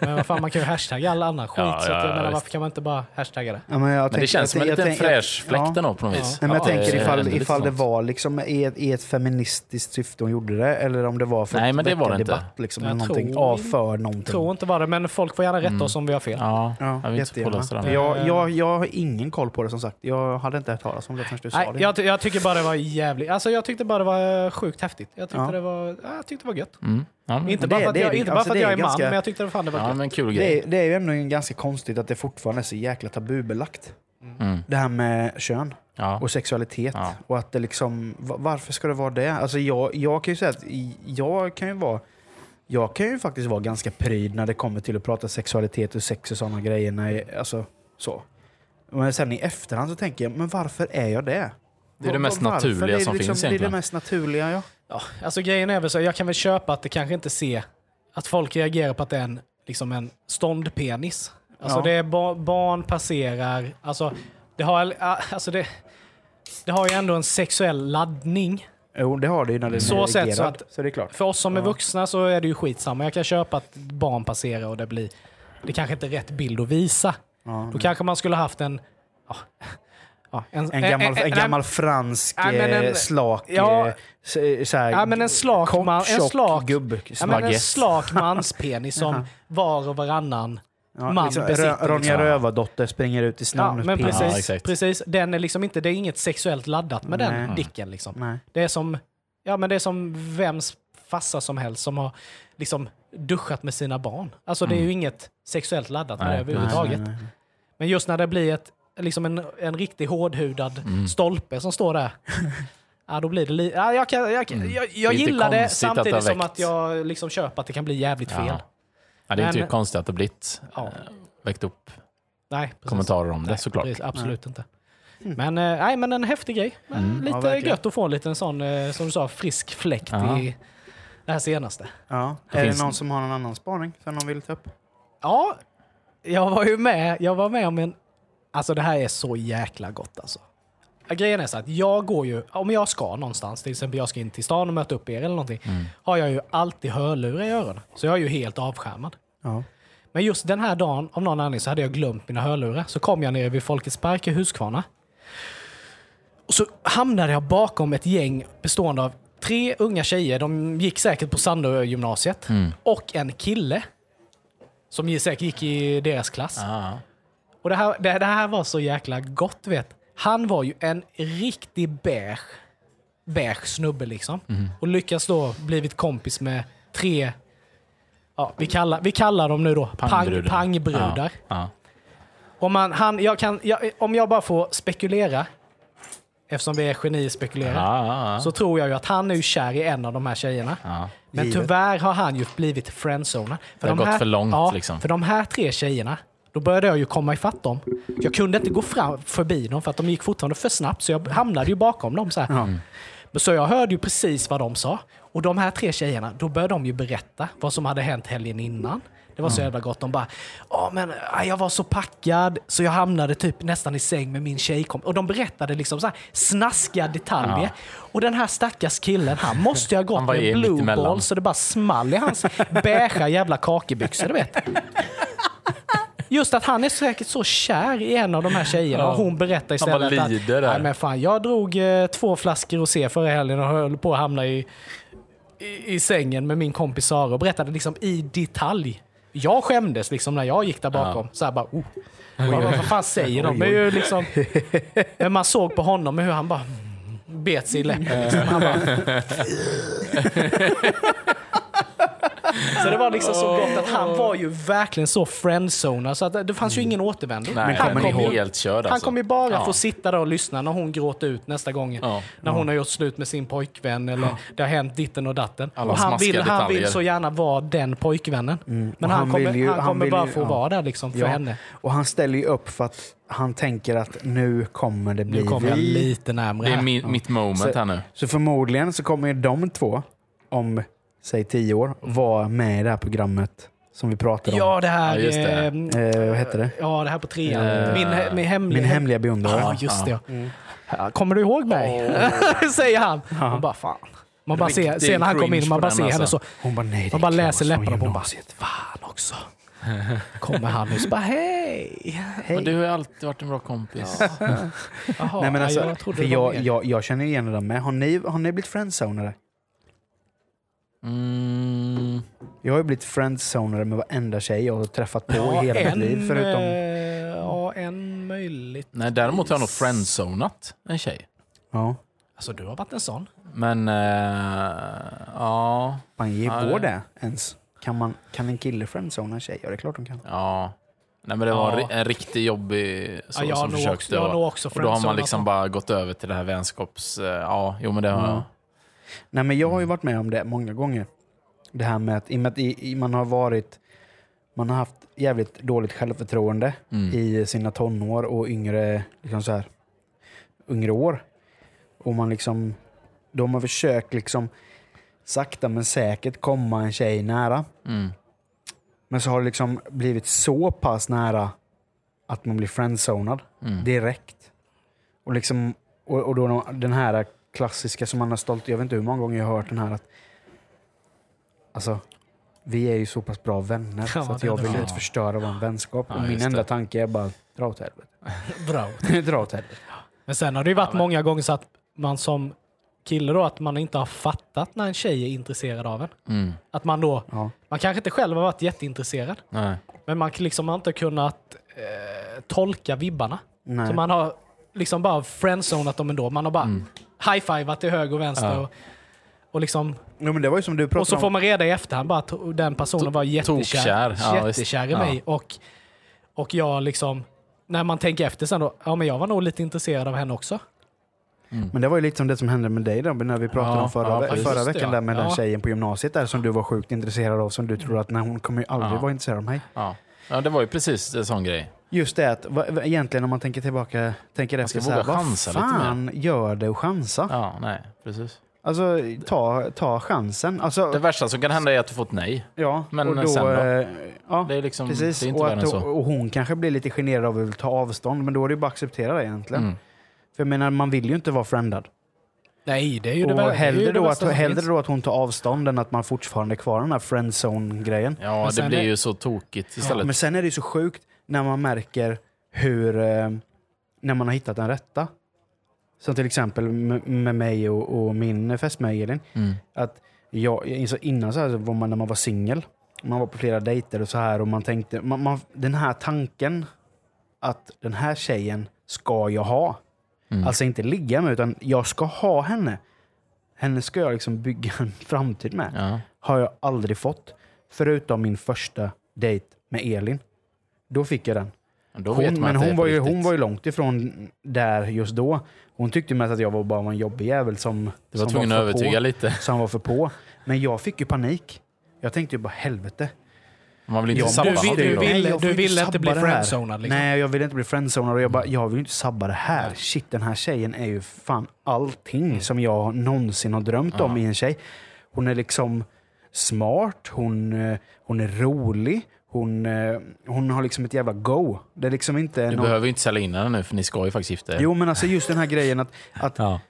A: Men vad fan, man kan ju hashtagga all annan skit.
C: Ja,
A: så att,
C: ja,
A: jag menar,
C: visst.
A: varför kan man inte bara hashtagga det?
B: Ja, men, jag
C: Men det känns som en liten fräsch fläkt
B: Ja.
C: ändå på något vis.
B: Nej, men jag
C: Ja,
B: tänker
C: det är
B: ifall,
C: ändå lite
B: ifall det
C: sånt.
B: var liksom i, ett, i ett feministiskt syfte hon gjorde det eller om det var för
C: Nej,
B: att
C: men det
B: väcka
C: var det inte.
B: debatt. Liksom,
A: Jag
B: eller någonting,
A: tror-
B: av för någonting.
A: Tror inte var det, men folk får gärna rätta oss om vi har fel.
C: Ja,
B: Mm. Ja,
C: jag vill inte
B: jättegärna.
C: påläsa den.
B: jag, jag, jag har ingen koll på det som sagt. Jag hade inte hört talas om det förrän du sa
A: Nej,
B: det.
A: jag, ty- jag tycker bara det var jävligt. Alltså jag tyckte bara det var sjukt häftigt. Jag tyckte
B: Ja.
A: det var, ja, jag tyckte det var gött.
C: Mm. Ja, men,
A: Inte
B: det-
A: bara för att
B: det är
A: jag,
B: det-
A: inte bara
B: alltså
A: för att
B: det är
A: jag är man,
B: ganska-
A: men jag tyckte det fan det var
C: ja,
A: gött.
C: men kul
B: det,
C: grej.
B: är, det är ju ändå ganska konstigt att det fortfarande är så jäkla tabubelagt.
C: Mm.
B: Det här med kön
C: Ja.
B: och sexualitet.
C: Ja.
B: Och att det liksom, va- varför ska det vara det? Alltså jag, jag kan ju säga att i- jag kan ju vara jag kan ju faktiskt vara ganska pryd när det kommer till att prata sexualitet och sex och sådana grejer. När jag, alltså, så. Men sen i efterhand så tänker jag, men varför är jag det?
C: Det är det
B: Va-
C: mest
B: va- varför?
C: naturliga
B: Det är
C: som
B: liksom,
C: finns
B: Det är
C: egentligen.
B: det mest naturliga, ja.
A: Ja, alltså grejen är väl så, jag kan väl köpa att det kanske inte ser, att folk reagerar på att det är en, liksom en ståndpenis. Alltså
B: Ja.
A: det är ba- barn passerar, alltså det har, alltså det, det har ju ändå en sexuell laddning.
B: Jo, det har det ju när det
A: Så
B: är
A: sätt så
B: erigerad,
A: att-
B: så det är klart.
A: För oss som är vuxna så är det ju skitsamma. Jag kan köpa att barn passerar och det blir... Det kanske inte är rätt bild att visa.
B: Ja.
A: Då kanske man skulle haft en... ja, ja,
B: Mm. En gammal, en
A: nej,
B: gammal fransk
A: nej, men en-
B: eh, slak...
A: ja.
B: Ja, så, så här,
A: Ja, men en slak
B: kort,
A: man- en
B: tjock
A: slak-
B: gubb.
A: ja, men en
C: baguette.
A: slak
C: (laughs)
A: manspenis som var och varannan
B: Ja,
A: man
B: liksom,
A: besitter.
B: Rö- Ronja
A: liksom.
B: Rövardotter springer ut i
A: Ja,
B: snön.
A: men precis,
C: exakt.
A: precis. Den är liksom inte, det är inget sexuellt laddat med den
B: Nej.
A: dicken. Liksom.
B: Nej.
A: Det är som, ja men det är som vems farsa som helst som har liksom duschat med sina barn. Alltså det är ju inget sexuellt laddat med
C: Mm. Nej,
A: det överhuvudtaget.
B: Nej, nej, nej.
A: Men just när det blir ett, liksom en, en riktig hårdhudad
C: Mm.
A: stolpe som står
C: (laughs)
A: där. Ja, då blir det li- ja, jag, kan, jag, kan- jag, jag
C: Mm. Det är inte
A: gillar det
C: konstigt att det har
A: samtidigt som
C: väckt.
A: att jag liksom köper att det kan bli jävligt fel.
C: Ja. Ja, det är inte
A: Men-
C: konstigt att det blivit
A: Ja.
C: eh, väckt upp
A: Nej, precis.
C: kommentarer om det
A: Nej,
C: såklart.
A: precis, absolut inte. Men, eh, nej, men en häftig grej. Men Lite
B: verkligen.
A: gött att få en liten sån, eh, som du sa, frisk fläkt
C: Ja.
A: i det här senaste.
B: Ja.
C: Det
B: Är
C: finns-
B: det någon som har någon annan spaning som de vill ta upp?
A: Ja, jag var ju med. Jag var med om en... Alltså det här är så jäkla gott alltså. Ja, Grejen är så att jag går ju, om jag ska någonstans, till exempel jag ska in till stan och möta upp er eller någonting,
C: Mm.
A: har jag ju alltid hörlurar i öronen. Så jag är ju helt avskärmad.
B: Ja.
A: Men just den här dagen, av någon anledning, så hade jag glömt mina hörlurar. Så kom jag ner vid Folkets Park i Huskvarna. Och så hamnade jag bakom ett gäng bestående av tre unga tjejer. De gick säkert på Sandö-gymnasiet. Och en kille. Som ju säkert gick i deras klass.
C: Ja.
A: Och det här, det, det här var så jäkla gott vet. Han var ju en riktig beige, beige snubbe liksom. Och lyckas då blivit kompis med tre, ja, vi, kallar, vi kallar dem nu då pang,
C: Pangbrudar.
A: pangbrudar.
C: Ja.
A: Om, man, han, jag kan, jag, om jag bara får spekulera, eftersom vi är genispekulerare,
C: Ja, ja, ja.
A: så tror jag ju att han är ju kär i en av de här tjejerna.
C: Ja.
A: Men
B: Givet.
A: tyvärr har han ju blivit friendzonad.
C: Det har gått för långt,
A: ja,
C: liksom.
A: För de här tre tjejerna, Då började jag ju komma ifatt dem. Jag kunde inte gå fram, förbi dem för att de gick fortfarande för snabbt, så jag hamnade ju bakom dem. Så, här.
B: Ja.
A: Men så jag hörde ju precis vad de sa. Och de här tre tjejerna, då började de ju berätta vad som hade hänt helgen innan. Det var så jävla gott. De bara, ja men ah, jag var så packad så jag hamnade typ nästan i säng med min tjejkompis. Och de berättade liksom så här snaskiga detaljer. Och den här stackars killen, han måste ju ha gått
C: Han var
A: med
C: ju
A: blue
C: mittemellan.
A: ball så det bara small i hans beigea jävla kakebyxor, du vet. Just att han är säkert så kär i en av de här tjejerna och hon berättar
C: Han bara
A: istället
C: lider
A: att
C: där.
A: Nej, men fan, jag drog eh, två flaskor rosé förra helgen och höll på att hamna i, i, i sängen med min kompis Sara och berättade liksom i detalj. Jag skämdes liksom när jag gick där bakom. Så här bara, oh, vad, vad fan säger de? Men, ju liksom, men man såg på honom hur han bara mm, bet sig i läppen. Liksom.
B: Eh.
C: (laughs)
A: Han bara, (laughs) så det var liksom så gott att han var ju verkligen så friendzonad så att det fanns ju ingen återvändo.
C: Mm. Nej,
A: han
C: han är
A: kom ju-
C: helt körd alltså.
A: han kommer ju bara
C: Ja.
A: få sitta där och lyssna när hon gråter ut nästa gång.
C: Ja.
A: När hon har gjort slut med sin pojkvän eller det har hänt ditten och datten.
C: Alla
A: och han
C: smaskiga
A: vill, han vill
C: detaljer.
A: så gärna vara den pojkvännen. Men
B: Mm. och
A: han,
B: han
A: kommer,
B: vill ju-
A: han
B: han
A: kommer
B: vill
A: bara
B: ju-
A: få
B: ja.
A: vara där liksom för
B: Ja.
A: henne.
B: Och han ställer ju upp för att han tänker att nu kommer det bli
A: Nu kommer jag
B: vi.
A: lite närmre
C: Det är
A: här.
C: mi, mitt moment här nu.
B: Så förmodligen så kommer ju de två, om säg tio år, vara med i det här programmet som vi pratade om.
A: Ja, det här
C: Ja, just det.
A: ehm,
B: Eh, vad hette det?
A: Ja, det här på trean.
C: Eh,
A: min, he- min hemliga...
B: Min hemliga beundrare.
A: Ja, just det.
B: Mm.
A: Ja, Kommer du ihåg mig? (laughs) Säger han. Man bara, fan. Man bara ser,
C: Riktig
A: ser när han kommer in,
C: cringe
A: man
C: på
A: bara
C: den
A: ser henne
C: alltså.
A: så.
B: Hon bara, nej, det
A: Man bara
B: är
A: läser
B: Klas från
A: läpparna på hon bara,
B: gymnasiet.
A: fan också. Kommer han nu så bara, hej.
C: Men du har ju alltid varit en bra kompis.
A: Jaha,
B: Nej, men alltså,
A: jag trodde
B: för
A: det var
B: jag,
A: mer.
B: jag, jag känner igen det där med. Har ni, har ni blivit friendzonade?
C: Mm.
B: Jag har ju blivit friendzonade med varenda tj jag har träffat på
A: Ja,
B: i hela
A: en,
B: mitt liv. Förutom,
A: eh, Ja, en möjligt.
C: Nej, däremot har jag nog friendzonat en tjej.
B: ja,
A: Alltså du har varit en sån.
C: Men, eh, ja,
B: man ger
C: Ja,
B: går
C: det-
B: det ens? Kan, man, kan en kille friendzona en tjej? Ja, det är klart de kan.
C: ja. Nej, men det var
A: Ja.
C: ri- en riktigt jobbig så,
A: Ja, jag har
C: som
A: nog
C: försökte.
A: också- jag har
C: och-
A: nog också
C: och då har man
A: friendzonat Mm.
C: liksom
A: dem.
C: bara gått över till det här vänskaps... eh, Ja, jo men det har jag.
B: Nej, men jag har ju
A: Mm.
B: varit med om det många gånger. Det här med att, i och med att i, i, man har varit... Man har haft jävligt dåligt självförtroende
C: Mm,
A: Mm.
B: i sina tonår och yngre, liksom så här, yngre år. Och man liksom... Då har man försökt liksom sakta men säkert komma en tjej nära.
C: Mm.
B: Men så har det liksom blivit så pass nära att man blir friendzonad direkt. Och, liksom, och, och då den här klassiska som man har stolt, jag vet inte hur många gånger jag har hört den här att alltså, vi är ju så pass bra vänner
A: Ja,
B: så att
A: det-
B: jag
A: det-
B: vill
A: ja.
B: inte förstöra vår vänskap.
C: Ja,
B: och min
C: just
B: enda
C: det.
B: tanke är bara, dra åt helvete.
A: Bra.
B: dra åt helvete.
A: Men sen har det ju varit många gånger så att man som kille då, att man inte har fattat när en tjej är intresserad av en.
C: Mm.
A: Att man då,
B: Ja.
A: man kanske inte själv har varit jätteintresserad,
C: Nej.
A: men man liksom har inte kunnat eh, tolka vibbarna.
B: Nej.
A: Så man har liksom bara friendzonat dem ändå. Man har bara high-fivat till höger och vänster. Och, och, liksom,
B: Jo, men det var ju som du
A: och så
B: pratade
A: får
B: om.
A: man reda i efterhand bara att den personen var jättekär,
C: tokkär. Ja, visst.
A: jättekär i
C: Ja.
A: mig. Och, och jag liksom, när man tänker efter sen då, ja men jag var nog lite intresserad av henne också.
B: Men det var ju lite som det som hände med dig då, när vi pratade
C: Ja,
B: om förra,
C: ja,
B: ve-
C: precis.
B: förra
A: Just det,
B: veckan
A: ja.
B: där med den
A: Ja.
B: tjejen på gymnasiet där som du var sjukt intresserad av som du trodde att nej, hon kommer ju aldrig
C: Ja.
B: vara intresserad av mig.
C: Ja. ja, det var ju precis en sån grej.
B: Just det att va- va- egentligen om man tänker tillbaka, tänker efter så
C: ska
B: här,
C: våga
B: vad
C: chansa lite mer.
B: fan gör det att chansa?
C: Ja, nej, precis.
B: Alltså ta, ta chansen.
C: Det
B: Alltså,
C: värsta som kan hända är att du fått nej.
B: ja,
C: men
B: och då,
C: sen då?
B: eh, Ja,
C: Det är liksom,
B: precis.
C: det är inte
B: och,
C: värre än
B: att,
C: så.
B: och hon kanske blir lite generad av att vill ta avstånd, men då är det ju bara att acceptera det egentligen.
C: Mm.
B: För jag menar, man vill ju inte vara friendad.
A: Nej, det är ju det,
B: Och
A: vär- det, är ju
B: hellre,
A: det
B: då att,
A: värsta som
B: hellre
A: finns.
B: då att hon tar avstånd än att man fortfarande är kvar i den här friendzone-grejen.
C: Ja,
A: Men
C: det
A: sen
C: blir
A: är-
C: ju så tokigt
B: Ja,
C: istället.
B: men sen är det ju så sjukt när man märker hur... Eh, när man har hittat den rätta. Som till exempel med, med mig och, och min fästmö Elin.
C: Mm.
B: Att jag, så innan så här, så var man, när man var singel, man var på flera dejter och så här och man tänkte, man, man, den här tanken att den här tjejen ska jag ha.
C: Mm.
B: Alltså inte ligga med, utan jag ska ha henne. Henne ska jag liksom bygga en framtid med
C: Ja.
B: har jag aldrig fått. Förutom min första dejt med Elin. Då fick jag den.
C: Men Då vet
B: Hon,
C: man
B: men
C: att det
B: hon
C: är på
B: var, ju,
C: riktigt.
B: hon var ju långt ifrån där just då. Hon tyckte mest att jag var bara en jobbig jävel som,
C: Du var
B: som,
C: tvungen att
B: för
C: övertyga
B: på,
C: lite.
B: som var för på. Men jag fick ju panik. Jag tänkte ju bara helvete.
C: Man vill inte
B: Ja,
C: sabba
A: Du,
B: sabba
A: vill, du,
B: någonting då.
A: vill,
B: Nej, jag
A: du
B: ju
A: vill inte bli
B: sabba det här.
A: friendzonad liksom.
B: Nej, jag vill inte bli friendzonad och jag bara, jag vill ju inte sabba det här. Shit, den här tjejen är ju fan
A: Mm.
B: allting som jag någonsin har drömt om i en tjej. Hon är liksom smart, hon, eh, hon är rolig, hon, eh, hon har liksom ett jävla go. Det är liksom inte...
C: Du
B: någon-
C: behöver ju inte sälja in den nu, för ni ska ju faktiskt gifta er.
B: Jo, men alltså just den här grejen att, att
C: Ja.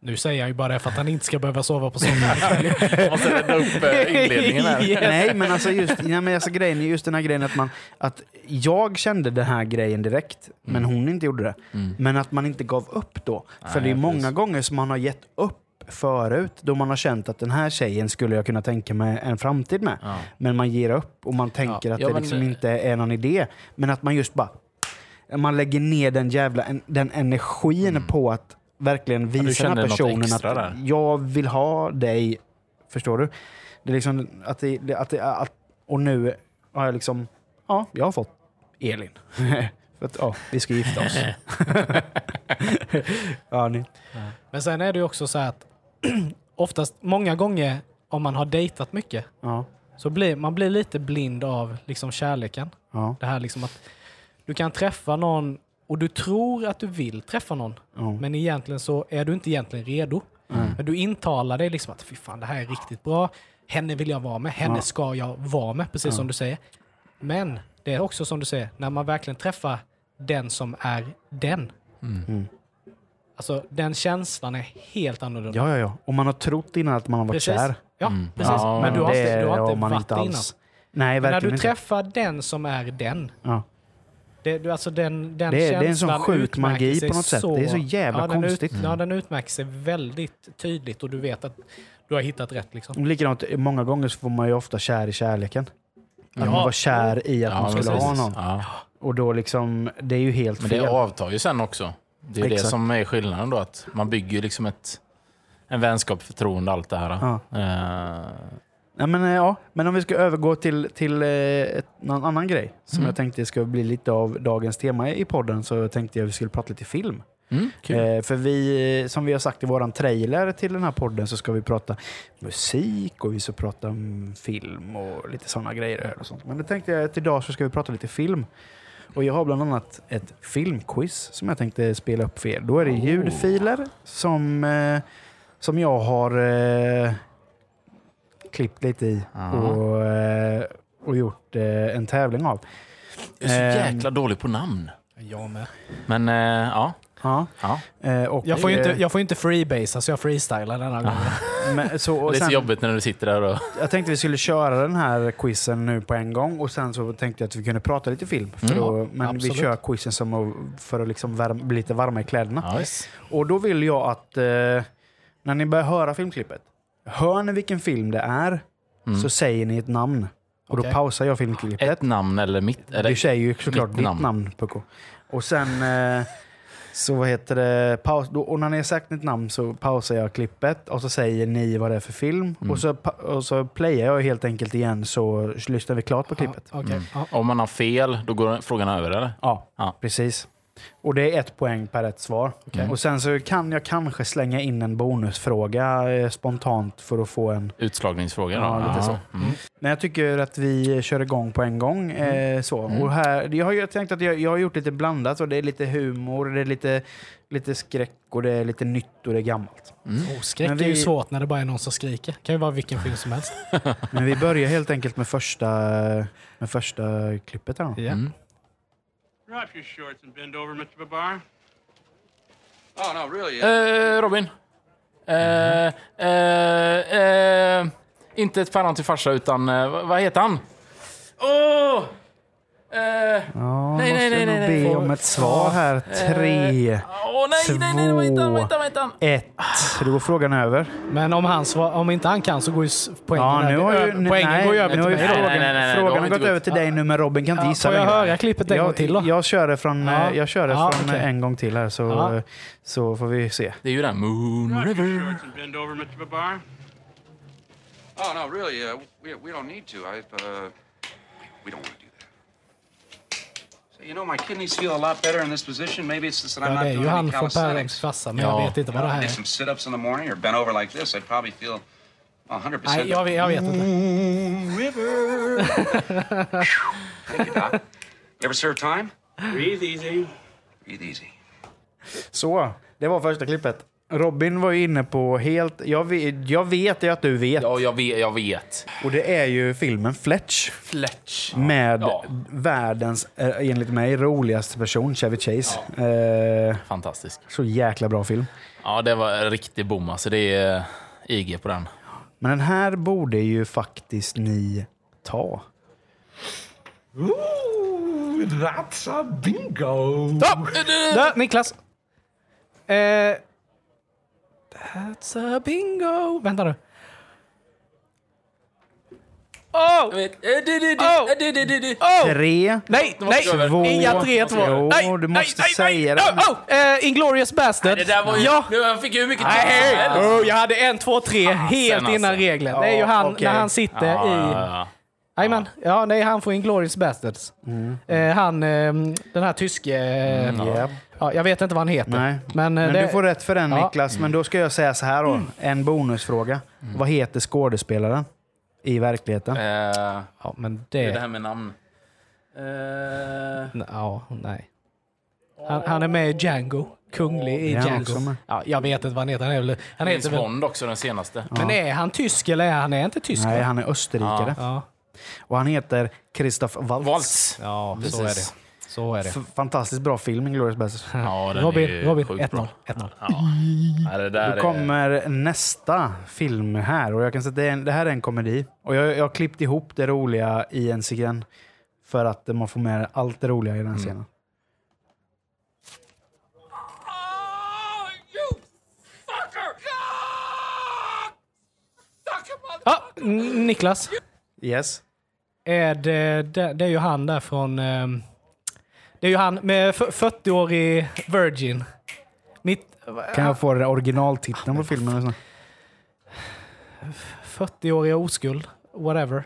A: Nu säger jag ju bara det för att han inte ska behöva sova på (laughs) sommaren.
C: Jag måste rädda
B: (laughs)
C: upp eh, inledningen här.
B: Nej, men alltså just, nej, men alltså grejen, är just den här grejen att, man, att jag kände den här grejen direkt, men
C: Mm.
B: hon inte gjorde det. Men att man inte gav upp då. För det är
C: precis.
B: många gånger som man har gett upp förut då man har känt att den här tjejen skulle jag kunna tänka mig en framtid med.
C: Ja.
B: Men man ger upp och man tänker att
C: Ja,
B: det
C: men-
B: liksom inte är någon idé. Men att man just bara man lägger ner den jävla en- den energin
A: Mm.
B: på att verkligen
C: du
B: visa den
C: känner
B: här
C: något
B: personen att
C: extra där.
B: jag vill ha dig. Förstår du? Det är liksom att det, det- att det, att, och nu har jag liksom, ja, jag har fått Elin. För att, ja, vi ska
A: (laughs)
B: gifta oss. ja, ni.
A: Men sen är det ju också så här att (clears throat) oftast, många gånger om man har dejtat mycket,
B: Ja,
A: så blir man blir lite blind av liksom kärleken.
B: ja,
A: Det här liksom att du kan träffa någon och du tror att du vill träffa någon,
B: ja.
A: men egentligen så är du inte egentligen redo. Men du intalar dig liksom att fy fan, det här är riktigt bra. Henne vill jag vara med. Henne
B: Ja.
A: ska jag vara med, precis som du säger. Men det är också som du säger, när man verkligen träffar den som är den.
B: Mm.
A: Alltså den känslan är helt annorlunda.
B: Ja, ja, ja. Och man har trott innan att man har varit
A: precis.
B: kär.
A: Ja,
C: Mm.
A: precis.
C: Ja,
A: men du har
B: det
A: inte, du har
B: har
A: inte
B: man
A: varit
B: inte
A: det innan.
B: alls. Nej,
A: När du
B: verkligen inte.
A: träffar den som är den,
B: Ja.
A: Det, du, alltså den, den
B: Det är-
A: känslan
B: det är en sån sjuk
A: utmärker
B: magi
A: sig
B: på något sätt. Det är så jävla
A: ja, den
B: konstigt. Mm.
A: Ut, ja, den utmärker sig väldigt tydligt och du vet att du har hittat rätt. Liksom.
B: Och Likadant, många gånger så får man ju ofta kär i kärleken. Att man var kär i att
C: Ja,
B: man
C: men
B: skulle
C: precis.
B: ha någon.
C: Ja.
B: Och då liksom, det är ju helt
C: Men
B: fel.
C: det avtar ju sen också. Det är det
B: Exakt.
C: som är skillnaden då, att man bygger liksom ett, en vänskap, förtroende, allt det här.
B: Ja.
C: Eh,
B: Nej, men, eh, ja. men om vi ska övergå till, till eh, ett, någon annan grej som jag tänkte ska bli lite av dagens tema i podden så tänkte jag att vi skulle prata lite film.
C: mm, kul.
B: Eh, för vi, eh, som vi har sagt i våran trailer till den här podden så ska vi prata musik och vi ska prata om film och lite sådana grejer. här Och sånt. Men då tänkte jag att idag så ska vi prata lite film. Och jag har bland annat ett filmquiz som jag tänkte spela upp för er. Då är det
C: Oh.
B: ljudfiler som, eh, som jag har eh, klippt lite i
C: Ja.
B: och, eh, och gjort eh, en tävling av.
C: Jag är så
B: ehm.
C: jäkla dålig på namn.
A: Jag med.
C: eh, Men eh, ja.
B: Ja,
C: ja.
B: eh, och,
A: Jag får ju inte,
B: eh,
A: jag får ju inte freebase, så jag freestylar
B: Ah,
A: denna gången.
B: men- så, och
C: Det är så
B: sen-
C: jobbigt när du sitter där och...
B: Jag tänkte vi skulle köra den här quizen nu på en gång och sen så tänkte jag att vi kunde prata lite film. För
C: Mm.
B: då, men
A: absolut.
B: vi kör quizen som att- för att liksom värm, bli lite varma i kläderna.
C: (laughs) Ja, visst.
B: Och då vill jag att eh, när ni börjar höra filmklippet, hör ni vilken film det är
C: Mm.
B: så säger ni ett namn. Och
A: Okej.
B: då pausar jag filmklippet.
C: Ett namn eller mitt...
B: Du
C: Eller,
B: säger ju såklart
C: mitt
B: ditt
C: namn.
B: namn, Pucko. Och sen eh, så vad heter det, paus, då, och när ni har sagt mitt namn så pausar jag klippet och så säger ni vad det är för film.
C: Mm.
B: Och, så, pa- och så playar jag helt enkelt igen så lyssnar vi klart på Mm. klippet.
A: Ja, okej. Ja.
C: om man har fel, då går frågan över eller?
B: Ja,
C: Ja.
B: precis. Och det är ett poäng per rätt svar. Och sen så kan jag kanske slänga in en bonusfråga eh, spontant för att få en...
C: Utslagningsfråga då?
B: Ja, lite så.
C: Mm.
B: Men jag tycker att vi kör igång på en gång.
A: Mm.
B: Eh, så. Och här, jag har ju tänkt att jag, jag har gjort lite blandat. Och det är lite humor, det är lite, lite skräck och det är lite nytt och det är gammalt.
C: Mm.
A: Oh, skräck
B: Men vi-
A: är ju svårt när det bara är någon som skriker. Det kan ju vara vilken film som helst.
B: Men vi börjar helt enkelt med första, med första klippet. Här. då.
A: Ja.
C: Mm.
D: Drop your shorts and bend over, Mr. Babar.
E: Oh, no, really?
C: Eh, Robin. Eh, eh, eh, inte ett päron till farsa, utan eh, vad vad heter han? Åh! Eh,
B: Ja,
C: Nej, nej,
B: måste
C: nej,
B: nog
C: nej, Eh. nej.
B: be om ett svar här. Tre,
C: åh, nej, nej, nej, nej, vad heter han? Vad heter han? Vad heter han?
B: ett. Då går frågan över.
A: Men om, han svar, om inte han kan så går ju s- poängen
B: Ja, nu
A: över.
B: har ju,
A: Ö- Poängen
B: nej,
A: går ju över till
B: nu har ju
A: mig.
C: Nej,
B: frågan,
C: nej, nej, nej, då har
B: frågan
C: vi
B: har
C: inte
B: gått över
C: gått.
B: till dig nu, men Robin kan inte
A: Ja,
B: gissa.
A: får jag
B: längre.
A: höra klippet en gång
B: Jag-
A: till då?
B: Jag kör det från,
A: Ja.
B: eh, jag kör det
A: Ja,
B: från
A: okej.
B: eh, en gång till här, så,
A: Ja.
B: så får vi se.
C: Det är ju den. Moon
D: Drop your
C: River.
D: shorts and bend over, Mr. Babar.
E: Oh, no, really? Uh, we, we don't need to. I, uh, we don't want to do that. So, you know, my kidneys feel a lot better in this position. Maybe it's just that I'm
A: Ja,
E: not
A: det är
E: doing
A: ju han
E: any
A: från Pärlens
E: calisthenics.
A: farsa, men
C: Ja.
A: jag vet inte vad det här
E: Did
A: är.
E: some sit-ups in the morning or bent over like this, I'd probably feel 100%.
A: Nej, jag, vet- jag vet inte.
E: River. Thank you, Doc. You ever serve time?
D: Breathe easy.
E: Breathe easy.
B: Så, det var första klippet. Robin var ju inne på helt... Jag vet, jag vet ju att du vet.
C: Ja, jag vet. Jag vet.
B: Och det är ju filmen Fletch.
C: Fletch.
B: Med
C: Ja.
B: världens, eh, enligt mig, roligaste person, Chevy Chase. Eh,
C: Fantastisk.
B: så jäkla bra film.
C: Ja, det var en riktig bom. Alltså, det är eh, IG på den.
B: Men den här borde ju faktiskt ni ta.
F: Ooh, that's a bingo.
A: Där, Niklas! Eh, that's a bingo! Vänta nu. Oh! Oh! Oh!
B: Tre.
A: Nej, nej!
B: Två.
A: Inga tre, två.
B: Jo,
A: nej, nej,
B: du måste
A: nej,
B: säga
A: nej.
B: det.
A: Oh, oh. Eh, Inglorious Bastard.
C: Det där var ju...
A: Ja!
C: Nu, han fick ju hur mycket
A: Nej,
C: tid som helst.
A: oh, jag hade en, två, tre helt
C: alltså.
A: innan regeln. Det är ju
B: Ah, Ja,
A: han
B: okej. Ah.
A: när han sitter
C: Ja,
A: i...
C: ja,
A: Jajamän. Ja, nej, han får Inglourious Bastards. Eh, han, eh, den här tyske... eh,
B: Mm. Ja.
A: ja, jag vet inte vad han heter.
B: Nej.
A: Men, eh,
B: Men
A: det,
B: du får rätt för den
A: Ja.
B: Niklas. Men då ska jag säga så här då. En bonusfråga.
A: Mm.
B: Vad heter skådespelaren i verkligheten?
C: ja. Eh,
A: Ja, men
C: det
A: det...
C: är det här med namn. Eh,
A: N- Ja, nej. Han, han är med i Django. Kunglig i
B: Ja, han
A: Django.
B: också med.
A: Ja, jag vet inte vad han heter. Han, är väl, han
C: James
A: heter väl,
C: Bond också, den senaste.
A: men är han tysk eller är han är inte tysk?
B: Nej,
A: va?
B: han är österrikare.
A: Ja,
B: Och han heter Christoph Waltz.
C: Waltz.
A: ja så är
C: Precis.
A: det. Så är det.
B: F- Fantastiskt bra film, Inglourious Basterds.
C: Ja, den
A: Robin,
C: är ju
A: Robin
C: sjukt bra.
A: 1-0. 1-0.
C: Ja, det där
A: Eh.
B: Då kommer nästa film här. Och jag kan säga att det, är en, det här är en komedi. Och jag, jag har klippt ihop det roliga i en scen. För att man får med allt det roliga i den här
A: Mm.
B: scenen.
A: Ja, N- Niklas.
B: Yes.
A: Är det, det, det är ju han där från... ehm, Det är ju han med f- 40-årig virgin. Mitt
B: Kan jag få den originaltiteln på filmen? eller så?
A: 40-åriga oskuld. Whatever.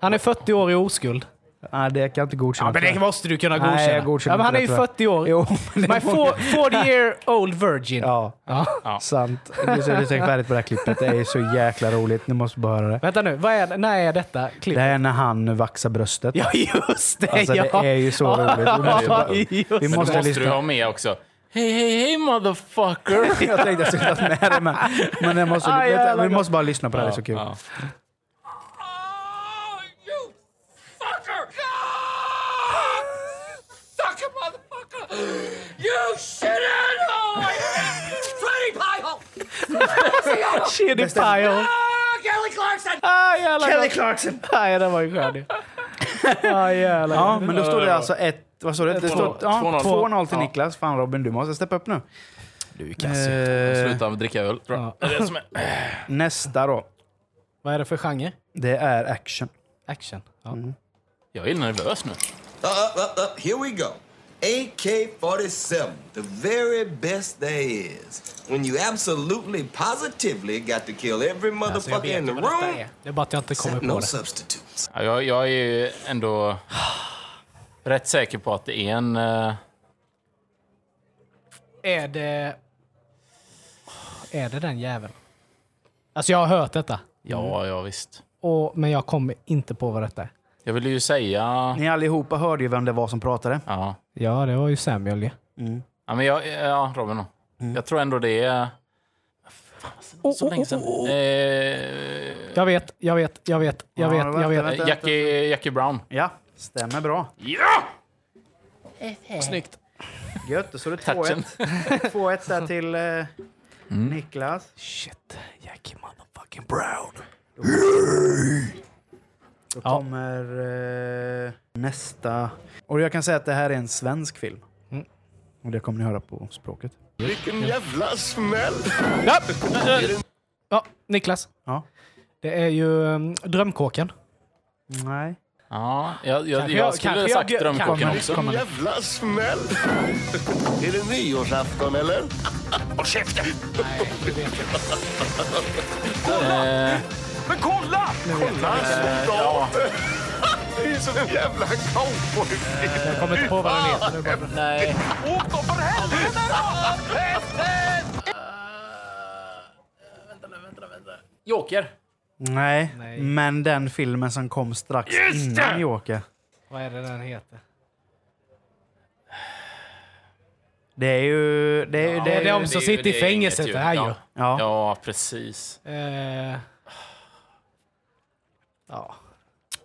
A: Han är 40-årig oskuld.
B: Nej, Ah, det kan jag inte godkänna.
A: Ja, men det måste du kunna godkänna.
B: Nej, jag godkänner
A: ja, men han
B: inte
A: är ju
B: det, tyvärr.
A: 40 år.
B: Jo, men det (laughs)
A: My
B: må-
A: four- 40 year old virgin.
B: Ja,
A: Ja.
B: sant. Du ser, du ser färdigt på det här klippet. Det är så jäkla roligt. Ni måste bara höra det.
A: Vänta nu, vad är, det- när är detta klipp?
B: Det här är när han vaxar
A: (laughs)
B: bröstet.
A: Ja, just det!
B: Alltså,
A: ja.
B: det är ju så roligt. Vi måste bara-
A: Ja, just
B: Vi
A: det.
C: Men
B: måste
C: då måste du
B: lyssna.
C: ha med också. Hej, hej, hej motherfucker!
B: Jag tänkte jag skulle ta med det, men, men jag måste,
A: Aj,
B: vet,
A: jävlar.
B: vi måste bara lyssna på det här. Det är så kul.
C: Ja.
A: Shitty pile! Ah, jävlar. Kelly
B: Clarkson!
A: Nej, den var ju skön ju. Ah, jävlar.
B: Ja, men då står det alltså ett... Vad står det? Det står ja,
C: 2-0.
B: 2-0 till Niklas. Fan Robin, du måste steppa upp nu.
C: Du är
B: Eh,
C: Sluta dricka öl, tror jag. Det är det som är.
B: nästa då.
A: Vad är det för genre?
B: Det är action.
A: Action. Ja.
B: Mm.
C: Jag är nervös nu.
G: Uh, uh, uh, uh, here we go. AK 47, the very best there is. When you absolutely, positively got to kill every
A: Alltså, jag
G: motherfucker
A: vet
G: in
A: ju
G: the
A: vad detta
G: room,
A: är. Det är bara att jag inte kommer på
G: no
A: det.
G: substitutes.
C: Ja, Jag, jag är ju ändå rätt säker på att det är en... eh,
A: Är det... Är det den jäveln? Alltså, jag har hört detta. Mm.
C: Ja, ja visst.
A: Och, men jag kommer inte på vad detta är.
C: Jag ville ju säga...
B: Ni allihopa hörde ju vem det var som pratade.
C: Ja,
A: Ja, det var ju Samuel ju.
C: ja men jag... Ja, Robin då.
A: Mm.
C: Jag tror ändå det är...
A: Oh,
C: Fan, så länge sedan. Eh,
A: Jag vet, jag vet, jag vet, jag
B: Ja,
A: vet, jag
B: vänta,
A: vet.
B: vänta.
C: Jackie, Jackie Brown.
B: Ja, stämmer bra.
A: Snyggt.
B: Gött, då står det
C: Touchen. Mm.
B: 2-1. (laughs) 2-1 där till eh, Niklas.
A: Shit. Jackie motherfucking Brown.
B: Då
A: Ja.
B: kommer eh, nästa. Och jag kan säga att det här är en svensk film.
A: Mm.
B: Och det kommer ni höra på språket.
A: Ja, Niklas.
B: Ja.
A: Det är ju um, Drömkåken.
B: Nej.
C: Ja, jag, jag,
A: Kanske
C: jag
A: jag-
C: skulle ha
A: kanske
C: sagt
A: jag-
C: Drömkåken
A: kanske-
C: också.
B: Kommer.
H: Jävla smäll! är det nyårsafton eller? Det är som en jävla cowboy.
A: Jag kommer inte på vad den heter. nu bara.
C: Nej. Åk då för helvete Vänta nu, vänta nu, vänta. Joker.
B: Nej,
A: Nej.
B: men den filmen som kom strax innan Joker.
A: Vad är det den heter?
B: Det är ju... Det är,
A: det
B: det
A: är
B: är,
A: de som
C: ju-
A: sitter i
C: det är
A: fängelset,
C: inget
A: det här ju.
C: Ja.
B: Ja.
C: ja, precis.
A: Eh, ja,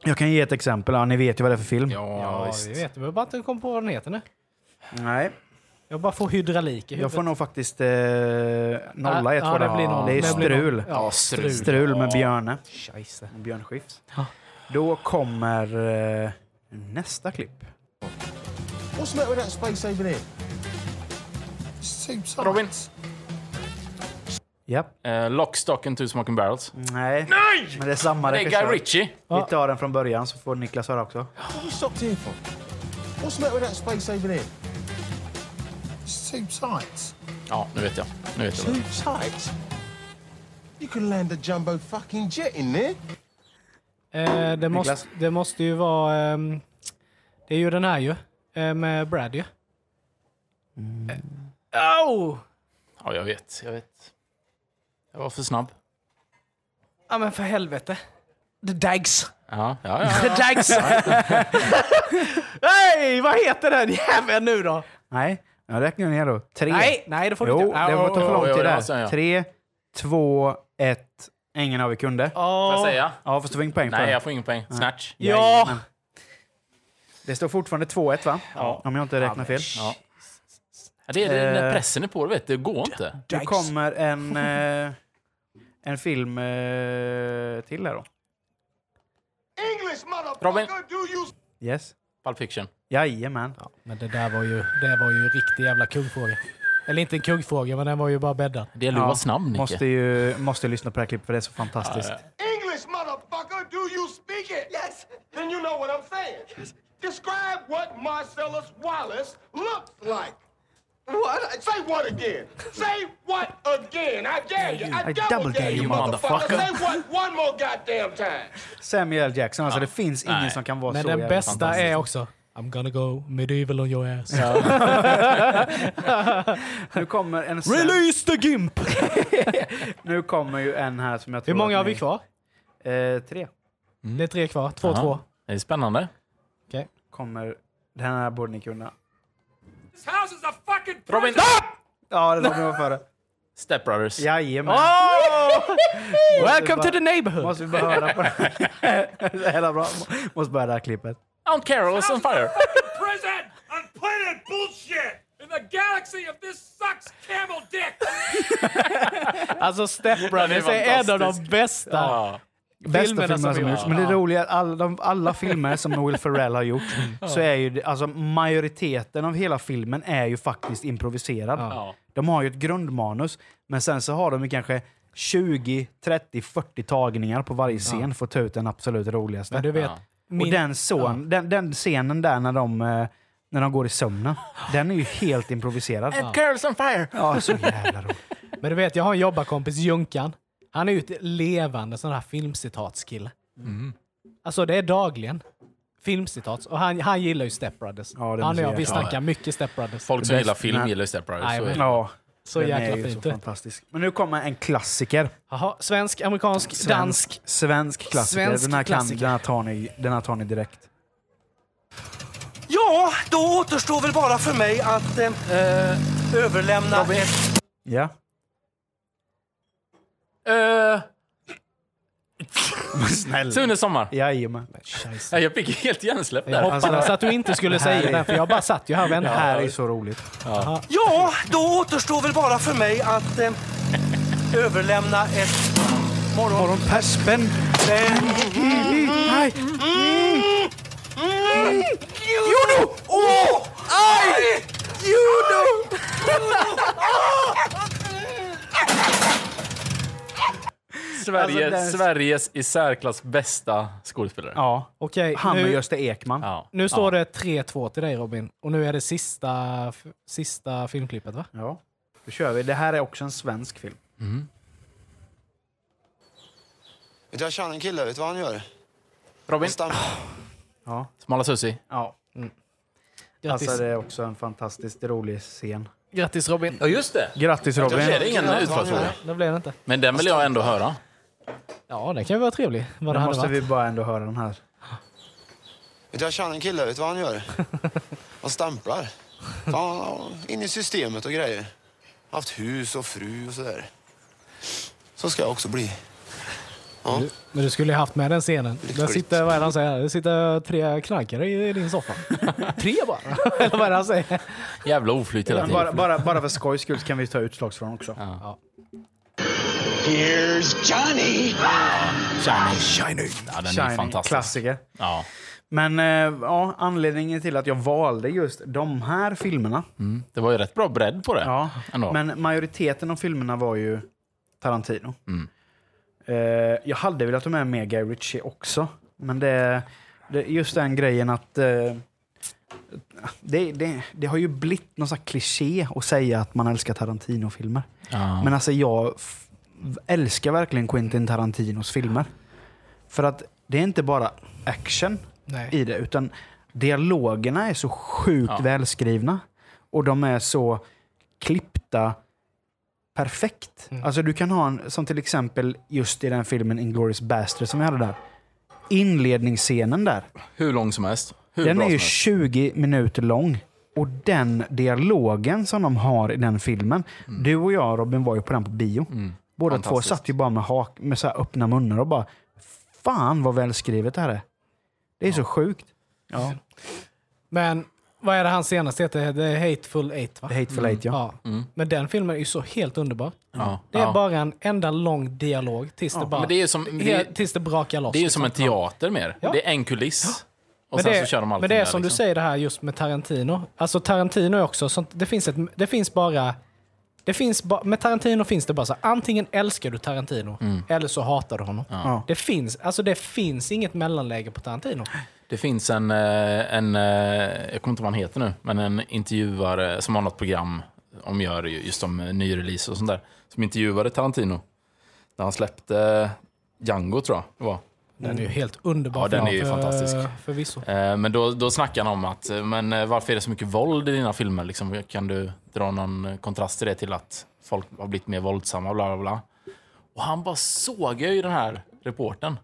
B: Jag kan ge ett exempel. Ja, ni vet ju vad det är för film.
C: Ja,
A: ja
C: visst.
A: vi vet. Vi behöver bara inte komma på vad den heter nu.
B: Nej,
A: Jag bara får hydraulik i
B: jag
A: huvudet.
B: får nog faktiskt eh, nolla
A: Ja,
B: ett
A: ja,
B: på det.
A: det blir noll.
B: det är
A: Det blir noll.
B: Strul.
A: Ja, strul.
B: Strul med Björne.
A: Scheisse.
B: Björn Skifs. Då kommer eh, nästa klipp.
I: What's the matter with that space over there? It's two sides.
C: Robin.
B: Japp.
C: Eh, Lock, stock and two smoking barrels.
B: Nej. Nej! Men Mm. det är samma
C: Det är
B: regissör.
C: Guy Ritchie.
B: Vi tar den från början så får Niklas höra också.
I: What are you stopped here for? What's the matter with that space over there? It's two sides.
C: Ja, nu vet jag. Nu vet jag.
I: Two sides? You could land a jumbo fucking jet in there.
A: Eh, det, måste,
B: Niklas?
A: det måste ju vara... ehm, det är ju den här ju. eh, med Brad ju.
B: Mm.
A: Eh, oh!
C: Ja, jag vet. Jag vet. Jag var för snabb.
A: Ja men för helvete. The Dags.
C: Ja, ja, ja.
A: The Dags! Nej, vad heter den jäveln nu då?
B: Nej, jag räknar ner då. Tre.
A: Nej, nej E. det får du
B: Jo,
A: inte
B: det
A: göra.
B: var ta för
C: jo,
B: lång
C: jo,
B: tid
C: det
B: där.
C: måste jag göra.
B: Tre, två, ett. Ingen av er kunde.
C: Får jag säga?
B: Ja, fast du får ingen poäng för
C: Nej,
B: det.
C: jag får ingen poäng. Snatch.
A: Ja!
B: Det står fortfarande 2-1 va? Om jag inte räknar fel.
C: Ja. Ja, det är det, när
B: Eh.
C: pressen är på, vet du. Det går inte.
B: Nu kommer en, eh, en film eh, till här då.
I: English, motherfucker!
C: Robin.
I: Do you
B: Yes.
C: Pulp Fiction.
B: Jajamän.
A: Men det där var ju, det var ju en riktig jävla kungfråga. Eller inte en kungfråga, men den var ju bara bäddad.
C: Det gäller att vara snabb, Nicke.
B: Måste ju måste lyssna på det här klippet för det är så fantastiskt.
I: English, motherfucker? Do you speak it? Yes. Then you know what I'm saying. Describe what Marcellus Wallace looks like. What? Say what again? Say what again? I dare you. I, double, dare you, motherfucker. Say what one more goddamn time.
B: Samuel L. Jackson, alltså det finns ingen
C: Nej.
B: som kan vara
A: Men
B: så
A: den
B: jävla
A: bästa
B: fantastisk.
A: är också I'm gonna go medieval on your ass.
B: Nu kommer en sen-
A: Release the Gimp!
B: Nu kommer ju en här som jag tror
A: Hur många
B: att
A: har vi
B: ni-
A: kvar?
B: Eh, tre.
A: Det är tre kvar. Två,
C: Ja.
A: två.
C: Det är spännande.
B: Kommer... Den här borde ni kunna.
D: This house is a fucking
C: Robin!
B: Ja, det var
A: (laughs)
B: före.
C: Step Brothers.
B: Jajamän.
A: Welcome to the neighborhood!
B: Måste vi bara höra på det. (laughs) det är jävla bra. Måste bara höra det här klippet.
C: Aunt Carol is on fire.
D: prison on planet bullshit in the galaxy of this sucks camel dick.
A: Alltså Step Brothers
C: Den är
A: är en av de
C: fantastisk.
A: bästa.
C: Ja.
B: Bästa
A: Filmerna
B: filmerna
A: som
B: som,
A: vi-
B: gjorts. Men det roliga är att alla, de, alla filmer som Will Ferrell har
A: (laughs)
B: gjort så är ju det- alltså majoriteten av hela filmen är ju faktiskt improviserad.
C: Ja.
B: De har ju ett grundmanus, men sen så har de ju kanske 20, 30, 40 tagningar på varje scen för att ta ut den absolut roligaste.
A: Men du vet,
C: Ja.
A: min,
B: Och den, son, den, den scenen där när de, eh, när de går i sömnen, den är ju helt improviserad.
C: Aunt Carol's on fire.
B: Ja, så jävla roligt.
A: men du vet, jag har en jobbarkompis, Junkan. Han är ju ett levande sån här filmcitatskille.
C: Mm.
A: Alltså det är dagligen. Filmcitat. Och han, han gillar ju Step Brothers.
B: Ja, det
A: han
B: måste
A: och jag,
B: jag
A: vi
B: göra.
A: snackar mycket Step Brothers.
C: Folk som gillar
B: bäst-
C: film
B: Nej.
C: gillar ju Step Brothers.
A: Nej,
C: Så är
A: men-
C: det.
B: Ja,
A: så
B: den är
A: jäkla
B: ju så
A: fint. du.
B: fantastisk. Men nu kommer en klassiker.
A: Jaha, svensk, amerikansk, dansk.
B: Svensk klassiker.
A: Svensk
B: den, här kan,
A: klassiker.
B: den, här tar ni, den här tar ni direkt.
J: Ja, då återstår väl bara för mig att eh, eh, överlämna ett...
B: Ja.
C: Eh,
B: Snäll.
C: Sunes sommar.
B: Jajamän.
C: Ja, Jag fick helt hjärnsläpp
A: Jag
C: där.
A: hoppades
B: Alltså-
A: att du inte skulle
B: här
A: säga
B: är-
A: det, för jag bara satt ju här och
B: Det
A: väntade.
B: här är så roligt.
J: Ja, då återstår väl bara för mig att eh, (laughs) överlämna ett... Morgon...
B: Persben! Nej!
J: Judo! Åh! Aj! Judo!
C: Sveriges,
B: Alltså, den-
C: Sveriges i särklass bästa skådespelare.
B: Ja.
A: Okej,
B: Han och
A: nu,
B: Gösta Ekman.
C: Ja.
A: nu står det 3-2 till dig Robin. Och nu är det sista, f- sista filmklippet va?
B: Ja. Då kör vi. Det här är också en svensk film.
I: Vet du, jag känner en kille. Vet du vad han gör?
C: Robin,
B: Ja.
C: Smala Susie.
B: ja.
A: Grattis,
B: Alltså det är också en fantastiskt rolig scen.
A: Grattis Robin.
C: Ja, just det.
B: Grattis Robin!
C: Det är ingen utfallsfråga.
A: Det blev det inte.
C: Men den vill jag ändå höra.
A: Ja, den kan ju vara trevlig. Vad det
B: Nu
A: hade
B: måste
A: varit.
B: vi bara ändå höra den här.
K: Vet du, jag känner en kille, vet du vad han gör? Han stämplar. Så han är inne i systemet och grejer. Haft hus och fru och sådär. Så ska jag också bli. Ja.
A: Du, men du skulle ju haft med den scenen. Där sitter, vad är det han säger? Det sitter tre knarkare i, i din soffa.
C: (laughs)
A: tre bara? (laughs) Eller vad är det han säger?
C: Jävla oflyt hela
B: Men
C: tiden.
B: Bara, bara, bara för skojs skull kan vi ta utslagsfrån också.
C: Ja.
H: Here's Johnny!
C: Shiny. Shiny. Ja, den är
B: Shining,
C: fantastisk.
B: Klassiker.
C: Ja.
B: Men eh, ja, anledningen till att jag valde just de här filmerna.
C: Det var ju rätt bra bredd på det.
B: Ja,
C: Mm. ändå.
B: men majoriteten av filmerna var ju Tarantino.
C: Mm.
B: Eh, jag hade velat ha med mer Guy Ritchie också. Men det, det just den grejen att eh, det, det, det har ju blivit någon sån här kliché att säga att man älskar Tarantino-filmer.
C: Ja.
B: Men alltså jag f- älskar verkligen Quentin Tarantinos filmer. För att det är inte bara action
A: Nej.
B: i det, utan dialogerna är så sjukt
A: Ja.
B: välskrivna. Och de är så klippta perfekt. Alltså du kan ha en, som till exempel just i den filmen Inglourious Basterds som vi hade där. Inledningsscenen där.
C: Hur lång som helst. Hur
B: den
C: bra
B: är ju
C: som helst.
B: 20 minuter lång. Och den dialogen som de har i den filmen. Du och jag Robin var ju på den på bio. Båda två
C: Mm. Fantastiskt.
B: satt ju bara med, hak, med så här öppna munnar och bara Fan vad välskrivet det här är. Det är så sjukt. Ja.
A: Men vad är det hans senaste heter? The Hateful Eight, va?
B: The Hateful Eight,
C: Mm.
B: ja.
A: Men den filmen är ju så helt underbar.
C: Ja.
A: Det är
C: Ja.
A: bara en enda lång dialog tills, det, bara,
C: Men det är ju som-
A: he- tills det brakar loss.
C: Det är ju
A: liksom.
C: som en teater mer.
A: Ja.
C: Det är en kuliss. Och
A: men
C: sen
A: det,
C: så kör de allting
A: men det är
C: där,
A: som
C: liksom.
A: du säger det här just med Tarantino. Alltså Tarantino är också sånt, det finns, ett, det finns bara... Det finns ba, med Tarantino finns det bara så här, antingen älskar du Tarantino eller så hatar du honom.
C: Mm. Ja.
A: Det, finns, alltså det finns inget mellanläge på Tarantino.
C: Det finns en, eh, en, eh, jag kommer inte ihåg vad han heter nu, men en intervjuare som har något program om gör ju- just om eh, nyrelease och sånt där. Som intervjuade Tarantino. När han släppte eh, Django tror jag det var.
A: Den är ju helt underbar.
C: Ja, den är ju
A: för-
C: fantastisk.
A: Förvisso.
C: Eh, Men då, då snackar han om att eh, men eh, varför är det så mycket våld i dina filmer? Liksom, kan du dra någon eh, kontrast till det till att folk har blivit mer våldsamma? Bla, bla, bla. Och han bara sågar ju den här reporten.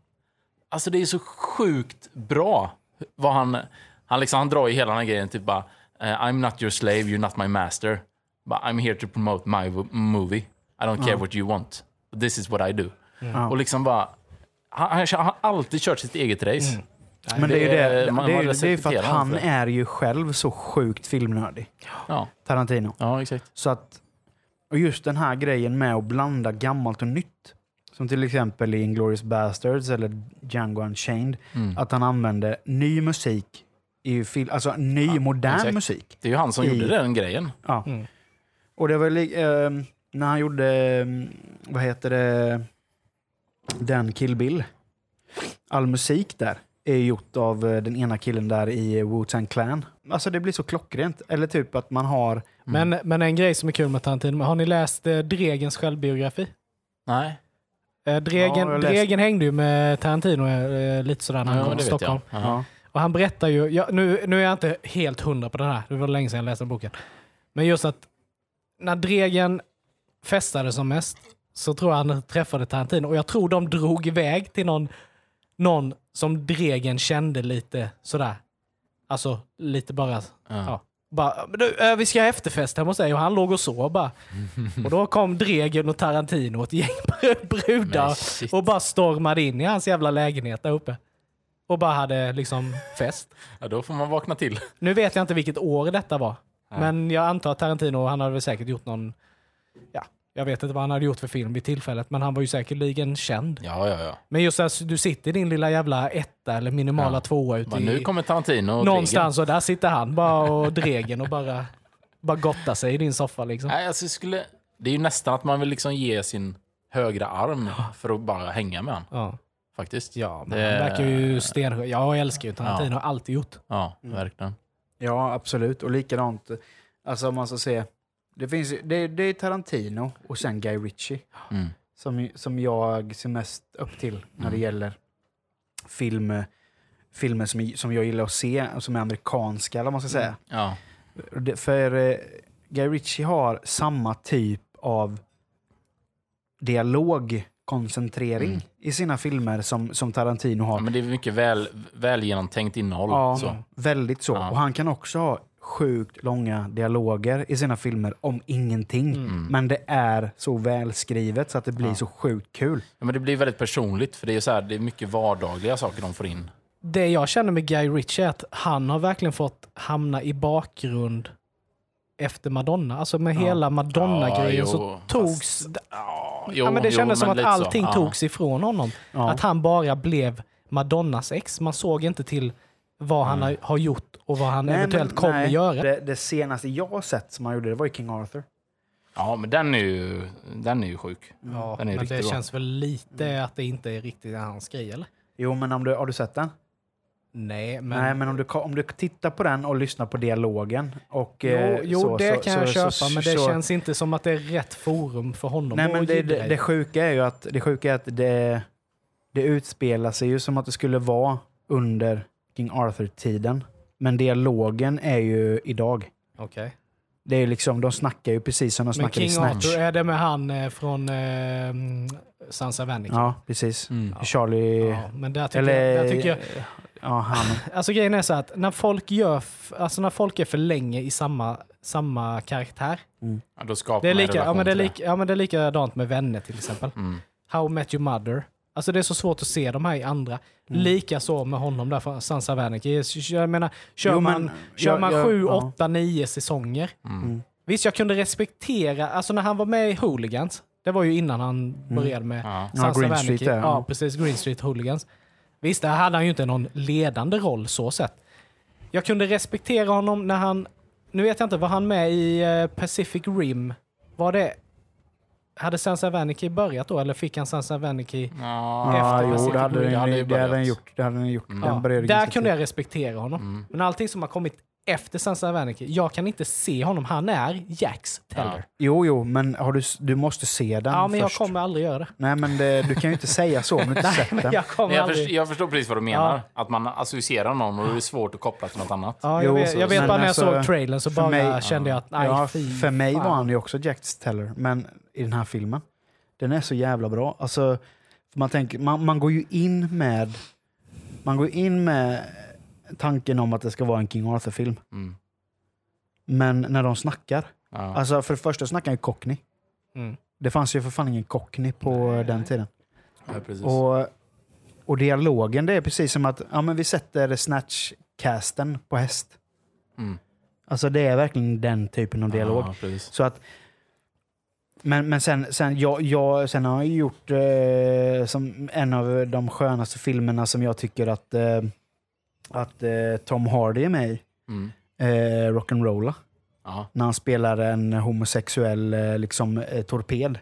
C: Alltså det är så sjukt bra. Vad han, han, liksom, han drar ju hela den här grejen typ bara eh, I'm not your slave, you're not my master. But I'm here to promote my w- movie. I don't care
B: Ja.
C: what you want. This is what I do.
B: Ja.
C: Och liksom bara... Han, han, han har alltid kört sitt eget race.
B: Men det, är ju det,
C: man-
B: det, är, ju- det är
C: man
B: ju för
C: respekterar
B: att
C: honom
B: han
C: för det.
B: är ju själv så sjukt filmnördig.
C: Ja.
B: Tarantino.
C: Ja, exakt.
B: Så att, och just den här grejen med att blanda gammalt och nytt. Som till exempel i Inglourious Basterds eller Django Unchained.
C: Mm.
B: Att han använde ny musik, i fil, alltså ny modern
C: exakt.
B: musik.
C: Det är ju han som
B: i-
C: gjorde den grejen.
B: Ja. Och det var li- ehm, när han gjorde, ehm, vad heter det, den Kill Bill. All musik där är gjort av eh, den ena killen där i Wu-Tang Clan. Alltså det blir så klockrent. Eller typ att man har...
C: Mm.
A: Men, men en grej som är kul med Tarantino, har ni läst eh, Dregens självbiografi?
C: Nej.
A: Eh,
B: Ja, jag
A: Dregen,
B: har läst.
A: Dregen hängde ju med Tarantino eh, lite sådär när
C: Ja,
A: han kom
C: det
A: till
C: vet
A: Stockholm.
C: jag. Ja.
A: Och han berättar ju, jag, nu, nu är jag inte helt hundra på den här, det var länge sedan jag läste boken. Men just att när Dregen festade som mest så tror jag han träffade Tarantino och jag tror de drog iväg till någon, någon som Dregen kände lite sådär. Alltså lite bara... Ja. Bara, "Men du, eh, vi ska ha efterfest hemma hos dig och han låg och sov bara. Och då kom Dregen och Tarantino och ett gäng (laughs) br- brudar och bara stormade in i hans jävla lägenhet där uppe. Och bara hade liksom fest.
C: Ja, då får man vakna till.
A: Nu vet jag inte vilket år detta var.
C: Nej.
A: Men jag antar att Tarantino, han hade väl säkert gjort någon... Ja, jag vet inte vad han hade gjort för film vid tillfället, men han var ju säkerligen känd.
C: Ja, ja, ja.
A: Men just att du sitter i din lilla jävla etta eller minimala tvåa ute
C: Men
A: i...
C: nu kommer Tarantino och
A: någonstans och där sitter han bara och dregen och bara, bara gottar sig i din soffa liksom.
C: Dreger. Nej, alltså, det skulle... Det är ju nästan att man vill liksom ge sin högra arm för att bara hänga med han.
A: Ja.
C: Faktiskt. Ja,
A: Han verkar ju stenskön. Jag älskar ju Tarantino,
C: Eh. Ja.
A: har alltid gjort.
C: Ja, verkligen.
B: Ja, absolut. Och likadant, alltså om man ska se, det, finns, ju- det, det är Tarantino och sen Guy Ritchie.
C: Mm.
B: Som, som jag ser mest upp till när det
C: Mm.
B: gäller film, filmer som, som jag gillar att se, som är amerikanska eller vad man ska säga.
C: Ja.
B: Det- För eh, Guy Ritchie har samma typ av dialog koncentrering
C: Mm.
B: i sina filmer som, som Tarantino har.
C: Men det är mycket väl, väl genomtänkt innehåll.
B: Ja,
C: så.
B: väldigt så. Och han kan också ha sjukt långa dialoger i sina filmer om ingenting.
C: Mm.
B: Men det är så välskrivet så att det blir
C: Ja.
B: så sjukt kul.
C: Ja, men det blir väldigt personligt, för det är, så här, det är mycket vardagliga saker de får in.
A: Det jag känner med Guy Ritchie är att han har verkligen fått hamna i bakgrund efter Madonna. Alltså med hela Madonna-grejen
C: Ja, jo,
A: så
C: fast-
A: togs...
C: Ja,
A: ja, men det
C: jo,
A: kändes som att
C: lite så.
A: allting
C: Ja.
A: togs ifrån honom.
C: Ja.
A: Att han bara blev Madonnas ex. Man såg inte till vad han
B: Mm.
A: har- har gjort och vad han eventuellt kommer göra.
B: Det, det senaste jag har sett som han gjorde det var ju King Arthur.
C: Ja, men den är ju, den är ju sjuk.
A: Ja,
C: den är ju
A: men
C: riktigt
A: det
C: bra.
A: känns väl lite att det inte är riktigt hans grej, eller?
B: Jo, men om du, har du sett den?
A: Nej, men...
B: Nej, men om du, ka- om du tittar på den och lyssnar på dialogen och
A: Jo,
B: eh,
A: jo
B: så,
A: det
B: så,
A: kan
B: så,
A: jag
B: så,
A: köpa,
B: så,
A: men det
B: så-
A: känns inte som att det är rätt forum för honom
B: Nej,
A: att
B: men det,
A: jiddra
B: det,
A: i.
B: det sjuka är ju att, det, sjuka är att det, det utspelar sig ju som att det skulle vara under King Arthur-tiden. Men dialogen är ju idag.
A: Okej.
B: Det är ju liksom, de snackar ju precis som de
A: Men
B: snackar
A: King
B: i Snatch.
A: Arthur, är det med han eh, från eh, Sansa Vennica?
B: Ja, precis. Charlie...
A: men där tycker jag- där tycker jag- (laughs)
B: Ja, han.
A: Alltså grejen är så att när folk, gör f- alltså när folk är för länge i samma, samma karaktär.
C: Ja, då skapar
A: Det är,
C: man en
A: lika, ja,
C: relation
A: men det, är
C: till
A: lika, ja, men det är likadant med vänner till exempel.
B: Mm.
A: How I Met Your Mother. Alltså det är så svårt att se de här i andra.
B: Mm.
A: Lika så med honom där från Sansa Wernicke. Jag menar, kör
B: Jo, men-
A: man, kör
B: jag-
A: man
B: jag-
A: sju,
B: ja.
A: åtta, nio säsonger.
B: Mm.
A: Visst, jag kunde respektera, alltså när han var med i Hooligans, det var ju innan han började med
B: Mm. Ja. Ja,
A: Sansa
B: Green
A: Wernicke.
B: Street, ja.
A: ja. precis. Green Street Hooligans. Visst, där hade han ju inte någon ledande roll så sett. Jag kunde respektera honom när han, nu vet jag inte, var han med i eh, Pacific Rim? Var det, hade Sansa Wernicke börjat då eller fick han Sansa Wernicke
B: Mm.
C: Ja,
B: Ja, jo,
A: Pacific
B: det hade
A: Rim?
B: den-
A: Ja,
B: det hade den gjort. Det hade den gjort.
A: Mm. Ja,
B: Den började
A: där kunde
B: ganska tidigt. Mm.
A: jag respektera honom. Men allting som har kommit efter Sansa Wernicke, jag kan inte se honom. Han är Jax Teller.
B: Jo, jo, men har du, s- du måste se den
A: Ja, men jag
B: först.
A: kommer aldrig göra det.
B: Nej, men det, du kan ju inte säga så om du inte
A: (laughs) Nej,
B: sett
A: men
B: den.
A: jag kommer
C: det. Jag,
A: aldrig...
C: förstår, jag förstår precis vad du menar. Att man associerar någon och det är svårt att koppla till något annat.
A: Ja, jag, vet, jag vet
B: men
A: bara när jag
B: alltså,
A: såg trailern så
B: för
A: bara
B: mig-
A: kände jag att nej,
B: ja,
A: fy
B: För mig
A: fan.
B: var han ju också Jack Teller, men i den här filmen. Den är så jävla bra. Alltså, för man, tänker, man, man går ju in med man går in med tanken om att det ska vara en King Arthur-film.
C: Mm.
B: Men när de snackar,
C: Ja.
B: alltså för det första snackar ju Cockney.
A: Mm.
B: Det fanns ju för fan ingen Cockney på den tiden.
C: Ja, precis.
B: Och, och dialogen, det är precis som att ja, men vi sätter snatchcasten på häst.
C: Mm.
B: Alltså det är verkligen den typen av dialog.
C: Ja, precis.
B: så att, men, men sen, sen, jag, jag, sen har jag gjort eh, som en av de skönaste filmerna som jag tycker att, eh, att eh, Tom Hardy är med i.
C: Mm.
B: Eh, Rock'n'Rolla.
C: Ja.
B: När han spelar en homosexuell eh, liksom, eh, torped.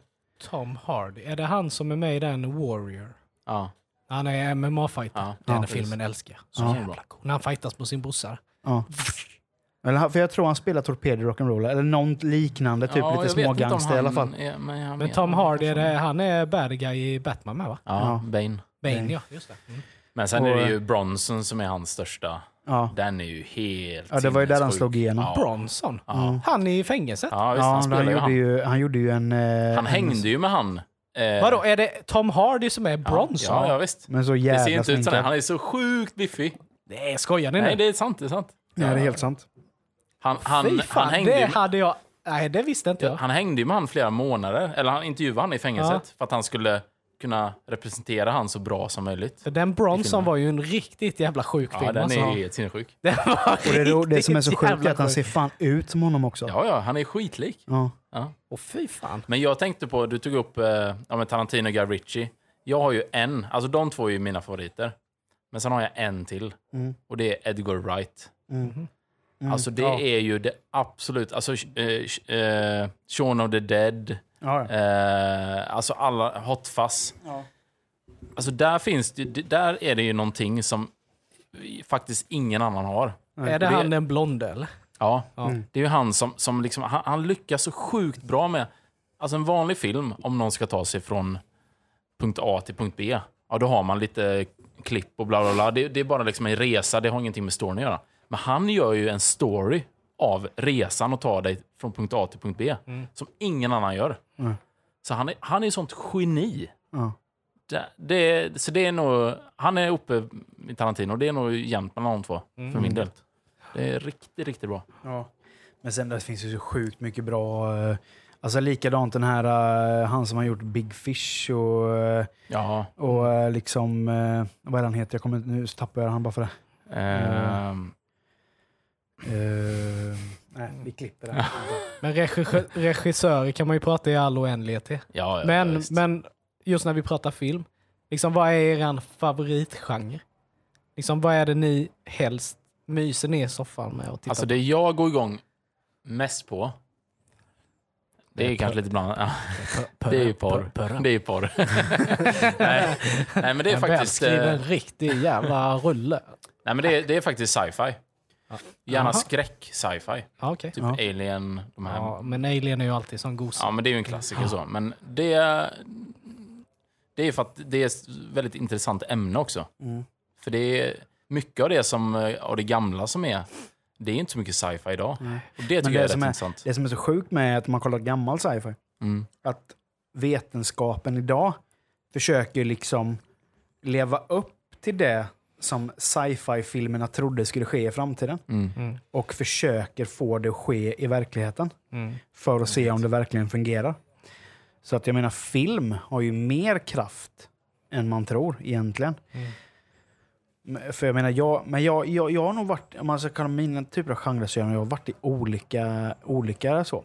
A: Tom Hardy, är det han som är med i den Warrior?
C: Ja.
A: Han är MMA-fighter. Den
B: Ja, precis.
A: filmen älskar jag. Så
B: Ja.
A: jävla cool. När han fightas på sin brorsa.
B: Ja. Eller, han- för jag tror han spelar torped i Rock'n'Rolla. Eller något liknande, typ
C: Ja,
B: lite
C: jag vet inte om
B: smågangster i alla fall.
C: han är- men jag
A: Men
C: menar-
A: Tom Hardy, är det, han är bad guy i Batman med va?
C: Ja, Bane.
A: Bane ja, just det. Mm.
C: Men sen
B: Och- eh,
C: är det ju Bronson som är hans största.
B: Ja.
C: Den är ju helt
B: Ja, det var ju där han
C: sinnessjuk.
B: slog igenom.
C: Ja.
A: Bronson?
B: Ja.
A: Han är i fängelset?
C: Ja, visst,
B: Ja,
C: han
B: han,
C: spelar ju
B: gjorde
C: han.
B: ju, han gjorde ju en... eh,
C: Han hängde ju med han. Eh,
A: Vadå, är det Tom Hardy som är Bronson?
C: Ja, ja visst.
B: Men så
C: Det
B: jävla
C: ser inte ut som
B: sminkad.
C: det. Han är så sjukt biffig.
A: Nej, skojar ni
C: Nej,
A: nu?
C: det är sant. Det är sant.
B: Nej, det är helt sant.
C: Han, han,
A: Fy fan,
C: han hängde
A: det
C: ju
A: hade jag... Nej, det visste inte jag.
C: Han hängde ju med han flera månader, eller han intervjuade han i fängelset för att han skulle kunna representera han så bra som möjligt.
A: För den Bronson var ju en riktigt jävla sjuk
C: Ja,
A: film.
C: den
A: alltså.
C: är ju helt sinnessjuk.
A: Det var
B: Och det, är då, det som är så
A: riktigt
B: sjukt
A: jävla
B: är att han ser
A: sjukt.
B: fan ut som honom också.
C: Ja, ja, han är skitlik.
B: Ja.
C: Ja.
A: Och fy fan.
C: Men jag tänkte på, du tog upp eh, ja, men Tarantino och Guy Ritchie. Jag har ju en, alltså de två är ju mina favoriter. Men sen har jag en till
B: Mm.
C: och det är Edgar Wright.
B: Mm.
C: Alltså det
B: ja.
C: är ju det absolut, alltså eh, eh, Shaun of the Dead,
B: Ja, ja.
C: eh, alltså alla, Hot Fuzz.
B: Ja.
C: Alltså där finns det, det- där är det ju någonting som faktiskt ingen annan har.
A: Är det
C: Och
A: han den blonde eller?
C: Ja, det är ju han som, som liksom, han, han lyckas så sjukt bra med, alltså en vanlig film, om någon ska ta sig från punkt A till punkt B, ja då har man lite klipp och bla bla bla. Det, det är bara liksom en resa, det har ingenting med storyn att göra. Men han gör ju en story av resan och tar dig från punkt A till punkt B, som ingen annan gör. Så han är, han är ju sånt geni.
B: Ja.
C: Det, det, så det är nog... Han är uppe i Tarantino. Det är nog jämnt mellan de två, för
B: Mm.
C: min del. Det är riktigt, riktigt bra.
B: Ja. Men sen det finns ju så sjukt mycket bra. eh, Alltså likadant den här, eh, han som har gjort Big Fish och, eh,
C: Ja.
B: och eh, liksom, eh, vad är det han heter? Jag kommer, inte- nu tappar jag han bara för det.
C: Ehm.
B: Eh, nej, vi klipper det. här.
A: Men regissö- regissörer kan man ju prata i all oändlighet till.
C: Ja, ja,
A: men,
C: ja, visst.
A: men just när vi pratar film, liksom, vad är er favoritgenre? Liksom, vad är det ni helst myser ner i soffan med och tittar
C: Alltså
A: på?
C: det jag går igång mest på, det är
A: Det är
C: kanske
A: porr.
C: lite bland ja. (laughs)
A: Det är porr.
C: Det är ju
A: Porr,
C: porr.
A: porr.
C: Det är
A: (laughs)
C: ju porr. nej. nej, men det är
A: En
C: faktiskt...
A: välskriven,
C: eh,
A: riktig jävla rulle.
C: Nej, men det är, det är faktiskt sci-fi. Gärna
A: Jaha.
C: skräck-sci-fi.
A: Ja, okej.
C: Typ
A: Ja.
C: Alien, de här.
A: Ja,
C: Ja.
A: men Alien är ju alltid sån gosig.
C: men det är ju en klassiker
A: Ja.
C: så. Men det... Det är för att det är ett väldigt intressant ämne också.
B: Mm.
C: För det är mycket av det som, eh, av det gamla som är, det är inte så mycket sci-fi idag. Och det tycker
B: Men
C: jag är rätt
B: som är,
C: intressant.
B: det som är så sjukt med att man kollar gammal sci-fi,
C: Mm.
B: att vetenskapen idag försöker liksom leva upp till det som sci-fi-filmerna trodde skulle ske i framtiden.
C: Mm.
B: Och försöker få det att ske i verkligheten.
A: Mm.
B: För att se om det verkligen fungerar. Så att jag menar, film har ju mer kraft än man tror egentligen. Men- För jag menar, jag, men jag, jag, jag har nog varit, om man ska kalla mina typer av genrer så har jag varit i olika, olika så.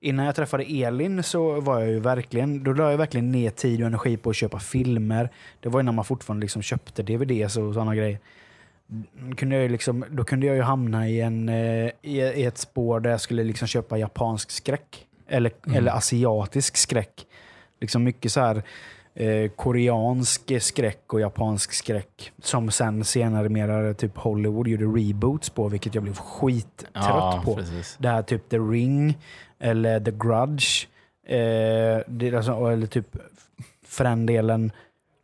B: Innan jag träffade Elin så var jag ju verkligen, då la jag verkligen ner tid och energi på att köpa filmer. Det var ju när man fortfarande liksom köpte DVDs och sådana grejer. Mm, Kunde jag ju liksom, då kunde jag ju hamna i, en, eh, i, i ett spår där jag skulle liksom köpa japansk skräck. Eller,
L: Mm.
B: eller asiatisk skräck. Liksom mycket så här eh, koreansk skräck och japansk skräck. Som sen senare mera typ Hollywood gjorde reboots på, vilket jag blev skittrött
C: Ja,
B: på.
C: precis.
B: Det här typ The Ring eller The Grudge. Eh, det, är alltså, eller typ för den delen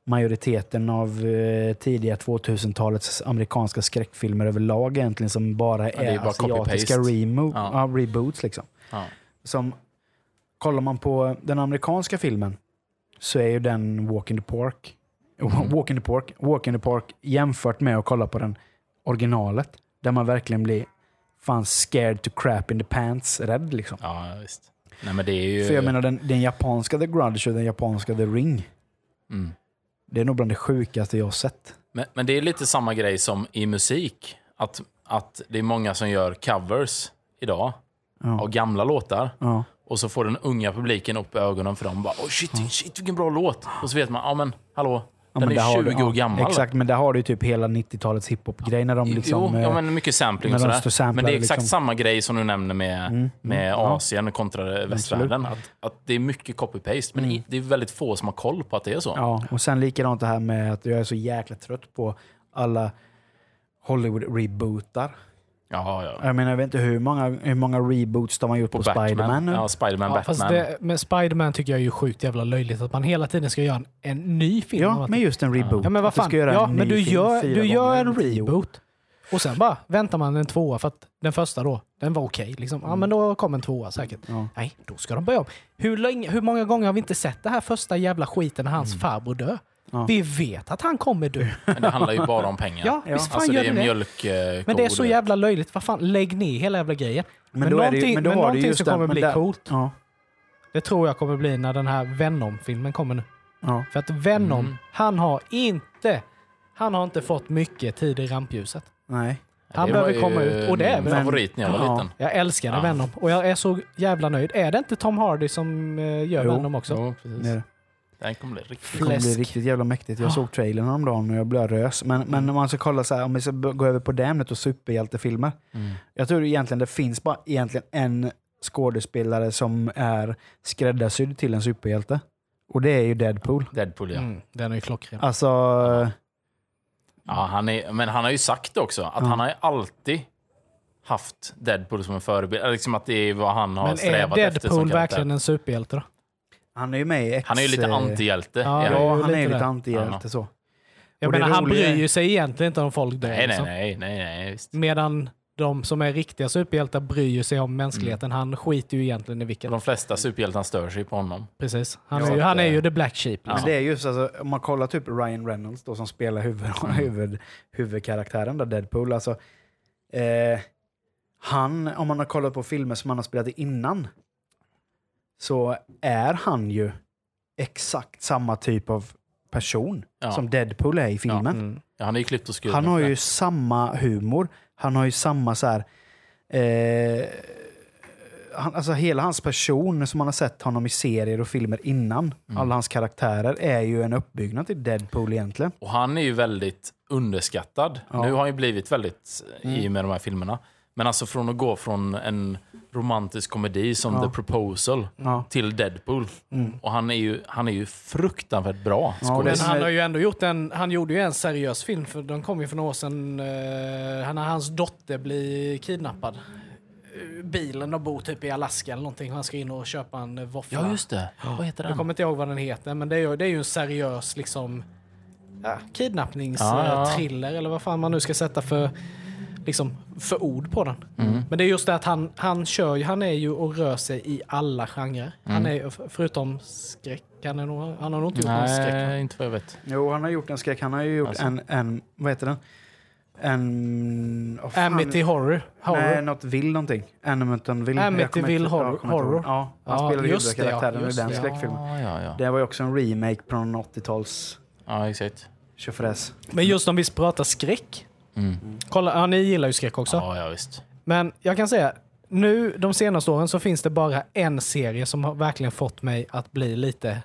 B: majoriteten av eh, tidiga 2000-talets amerikanska skräckfilmer överlag egentligen som bara
C: Ja, det
B: är,
C: är bara
B: asiatiska
C: copy-paste.
B: remo-
C: Ja.
B: ja, reboots. Liksom.
C: Ja.
B: Som, kollar man på den amerikanska filmen så är ju den Walk in the Park. (laughs)
C: Mm.
B: Walk in the Park, Walk in the Park jämfört med att kolla på den originalet. Där man verkligen blir fan scared to crap in the pants rädd liksom.
C: Ja, visst. Nej, men det är ju...
B: För jag menar den, den japanska The Grudge och den japanska The Ring.
C: Mm.
B: Det är nog bland det sjukaste jag har sett.
C: Men, men det är lite samma grej som i musik. Att, att det är många som gör covers idag
B: Ja.
C: av gamla låtar.
B: Ja.
C: Och så får den unga publiken upp ögonen för dem. Bara, oh, shit, shit, vilken bra låt. Och så vet man, ja men hallå,
B: Ja,
C: den
B: men där
C: är
B: har
C: 20
B: du-
C: år gammal.
B: Exakt, men där har du ju typ hela 90-talets hiphop-grej när de liksom...
C: jo, ja,
B: eh,
C: men mycket sampling och
B: när de
C: sådär.
B: står och samplar,
C: men det är exakt
B: liksom.
C: samma grej som du nämner med,
B: Mm,
C: med
B: mm, ja.
C: Asien kontra västvärlden. Att, att det är mycket copy-paste, men i- det är väldigt få som har koll på att det är så.
B: Mm. Ja, och sen likadant det här med att jag är så jäkla trött på alla Hollywood-rebootar.
C: Ja, ja.
B: Jag menar, jag vet inte hur många, hur många reboots de har gjort på,
C: Batman.
B: Spiderman nu.
C: Ja, Spiderman,
B: Ja,
C: Batman.
B: fast
A: Fast det, men Spider-Man tycker jag är ju sjukt jävla löjligt. Att man hela tiden ska göra en, en ny film.
B: Ja, men just en reboot.
A: Ja, men vad
B: Att du
A: fan.
B: ska göra
A: ja,
B: en
A: men
B: ny
A: du
B: film
A: gör,
B: fyra
A: du gör
B: gånger.
A: en reboot. Och sen bara väntar man en tvåa för att den första då, den var okej. liksom. Ja, men då kom en tvåa säkert.
B: Mm,
A: Nej, då ska de börja om. Hur, länge, hur många gånger har vi inte sett det här första jävla skiten när hans farbror dör?
B: Mm. Ja.
A: Vi vet att han kommer
B: (laughs)
A: dö.
C: Men det handlar ju bara om pengar.
A: Ja, visst fan
C: alltså,
A: gör
C: det är
A: det det.
C: mjölk, eh,
A: Men det är
C: kor,
A: så jävla löjligt. Vad fan, lägg ner hela jävla grejen. Men,
B: då är det ju-
A: någonting,
B: men då
A: men
B: har du
A: någonting
B: just
A: som
B: den-
A: kommer
B: men
A: bli
B: där-
A: coolt.
B: Ja.
A: Det tror jag kommer bli när den här Venom-filmen kommer nu.
B: Ja.
A: För att Venom, han har inte han har inte fått mycket tid i rampljuset.
B: Nej.
A: Han
C: det var
A: behöver
C: ju
A: komma ut. Och det är
C: min
A: väl-
C: favorit när jag var
A: Ja.
C: liten.
A: Jag älskar
C: Ja.
A: Venom och jag är så jävla nöjd. Är det inte Tom Hardy som eh, gör
B: Jo.
A: Venom också?
C: Jo,
B: Det är det.
C: Den kommer bli riktigt
B: Det kommer bli riktigt jävla mäktigt.
C: Ah.
B: Jag såg trailern häromdagen och jag blev rös. Men,
C: Mm.
B: men om man ska kolla så här, om vi ska b- gå över på det ämnet och superhjältefilmer.
C: Mm.
B: Jag tror egentligen det finns bara egentligen en skådespelare som är skräddarsydd till en superhjälte. Och det är ju Deadpool.
C: Deadpool, ja.
A: Mm, den är ju klockren.
B: Alltså,
C: ja han är, men han har ju sagt det också, att
B: Ja.
C: han har ju alltid haft Deadpool som en förebild. Eller Liksom att det är vad han har
A: Men är
C: strävat efter som
A: Deadpool
C: karaktär.
A: verkligen en superhjälte då?
B: han är ju med i X.
C: Han är ju lite
B: eh,
C: antihjälte.
A: Ja,
C: är han ju.
B: Ja, han är
A: lite
B: ju lite
A: det.
B: antihjälte så.
A: Jag
B: Och det
A: menar, han
B: roliga är-
A: bryr ju sig egentligen inte om folk dör.
C: Nej, nej,
A: liksom.
C: nej, nej, nej, visst.
A: Medan de som är riktiga superhjältar bryr sig om
C: Mm.
A: mänskligheten. Han skiter ju egentligen i vilket.
C: De flesta superhjältarna stör sig på honom.
A: Precis. Han, är, ju, han är ju the black sheep.
B: Men det är just, alltså, om man kollar typ Ryan Reynolds då, som spelar huvud, (laughs)
C: Mm.
B: huvud, huvudkaraktären där, Deadpool. Alltså, eh, han, om man har kollat på filmer som han har spelat i innan, så är han ju exakt samma typ av person
C: Ja. Mm.
B: som Deadpool är i filmen.
C: Ja, han är ju klippt och skuren.
B: Han har
C: för
B: ju
C: det.
B: samma humor. Han har ju samma så här... Eh, han, alltså hela hans person som man har sett honom i serier och filmer innan. Alla hans karaktärer är ju en uppbyggnad till Deadpool egentligen.
C: Och han är ju väldigt underskattad.
B: Ja. Mm.
C: Nu har han ju blivit väldigt eh, i och med de här filmerna. Men alltså från att gå från en romantisk komedi som
B: Ja.
C: The Proposal
B: Ja.
C: till Deadpool.
B: Mm.
C: Och han är ju, han är ju fruktansvärt bra
B: Ja, och det
A: Men
C: skådis.
A: han har ju ändå gjort en, han gjorde ju en seriös film, för den kom ju för några år sedan, eh, han- när hans dotter blir kidnappad. Eh, Bilen, de bor typ i Alaska eller någonting, och han ska in och köpa en eh, våffla.
C: Ja, just det. Vad heter
A: Jag
C: den?
A: kommer inte ihåg vad den heter, men det är, ju- det är ju en seriös liksom ja,
C: Ja, ja.
A: kidnappningsthriller eller vad fan man nu ska sätta för, liksom, för ord på den.
C: Mm.
A: Men det är just det att han, han kör ju, han är ju och rör sig i alla genrer. Han
C: Mm.
A: är ju- f- förutom skräck, han, är nog, han har nog inte gjort någon skräck. va?
C: Nej, inte vad jag vet.
B: Jo, han har gjort en skräck. Han har ju gjort
C: Alltså.
B: en, en... Vad heter den? En... åh, fan.
A: Amity Horror. Horror.
B: Nej, något vill någonting. Amityville. Jag kommer inte-
A: Amityville
B: jag
A: Horror-
B: kommer inte ihåg.
A: Horror.
B: Ja, han
A: Ja,
B: spelade
A: just det, ja,
B: huvudkaraktären i
A: just
B: den
A: det.
B: skräckfilmen.
C: Ja, ja, ja.
B: Det var ju också en remake från 80-tals
C: Ja, exakt.
B: tjofräs.
A: Men just om vi pratar skräck. Kolla, ja, ni gillar ju skräck också.
C: Mm. Ja, ja, visst.
A: Men jag kan säga, nu de senaste åren så finns det bara en serie som har verkligen fått mig att bli lite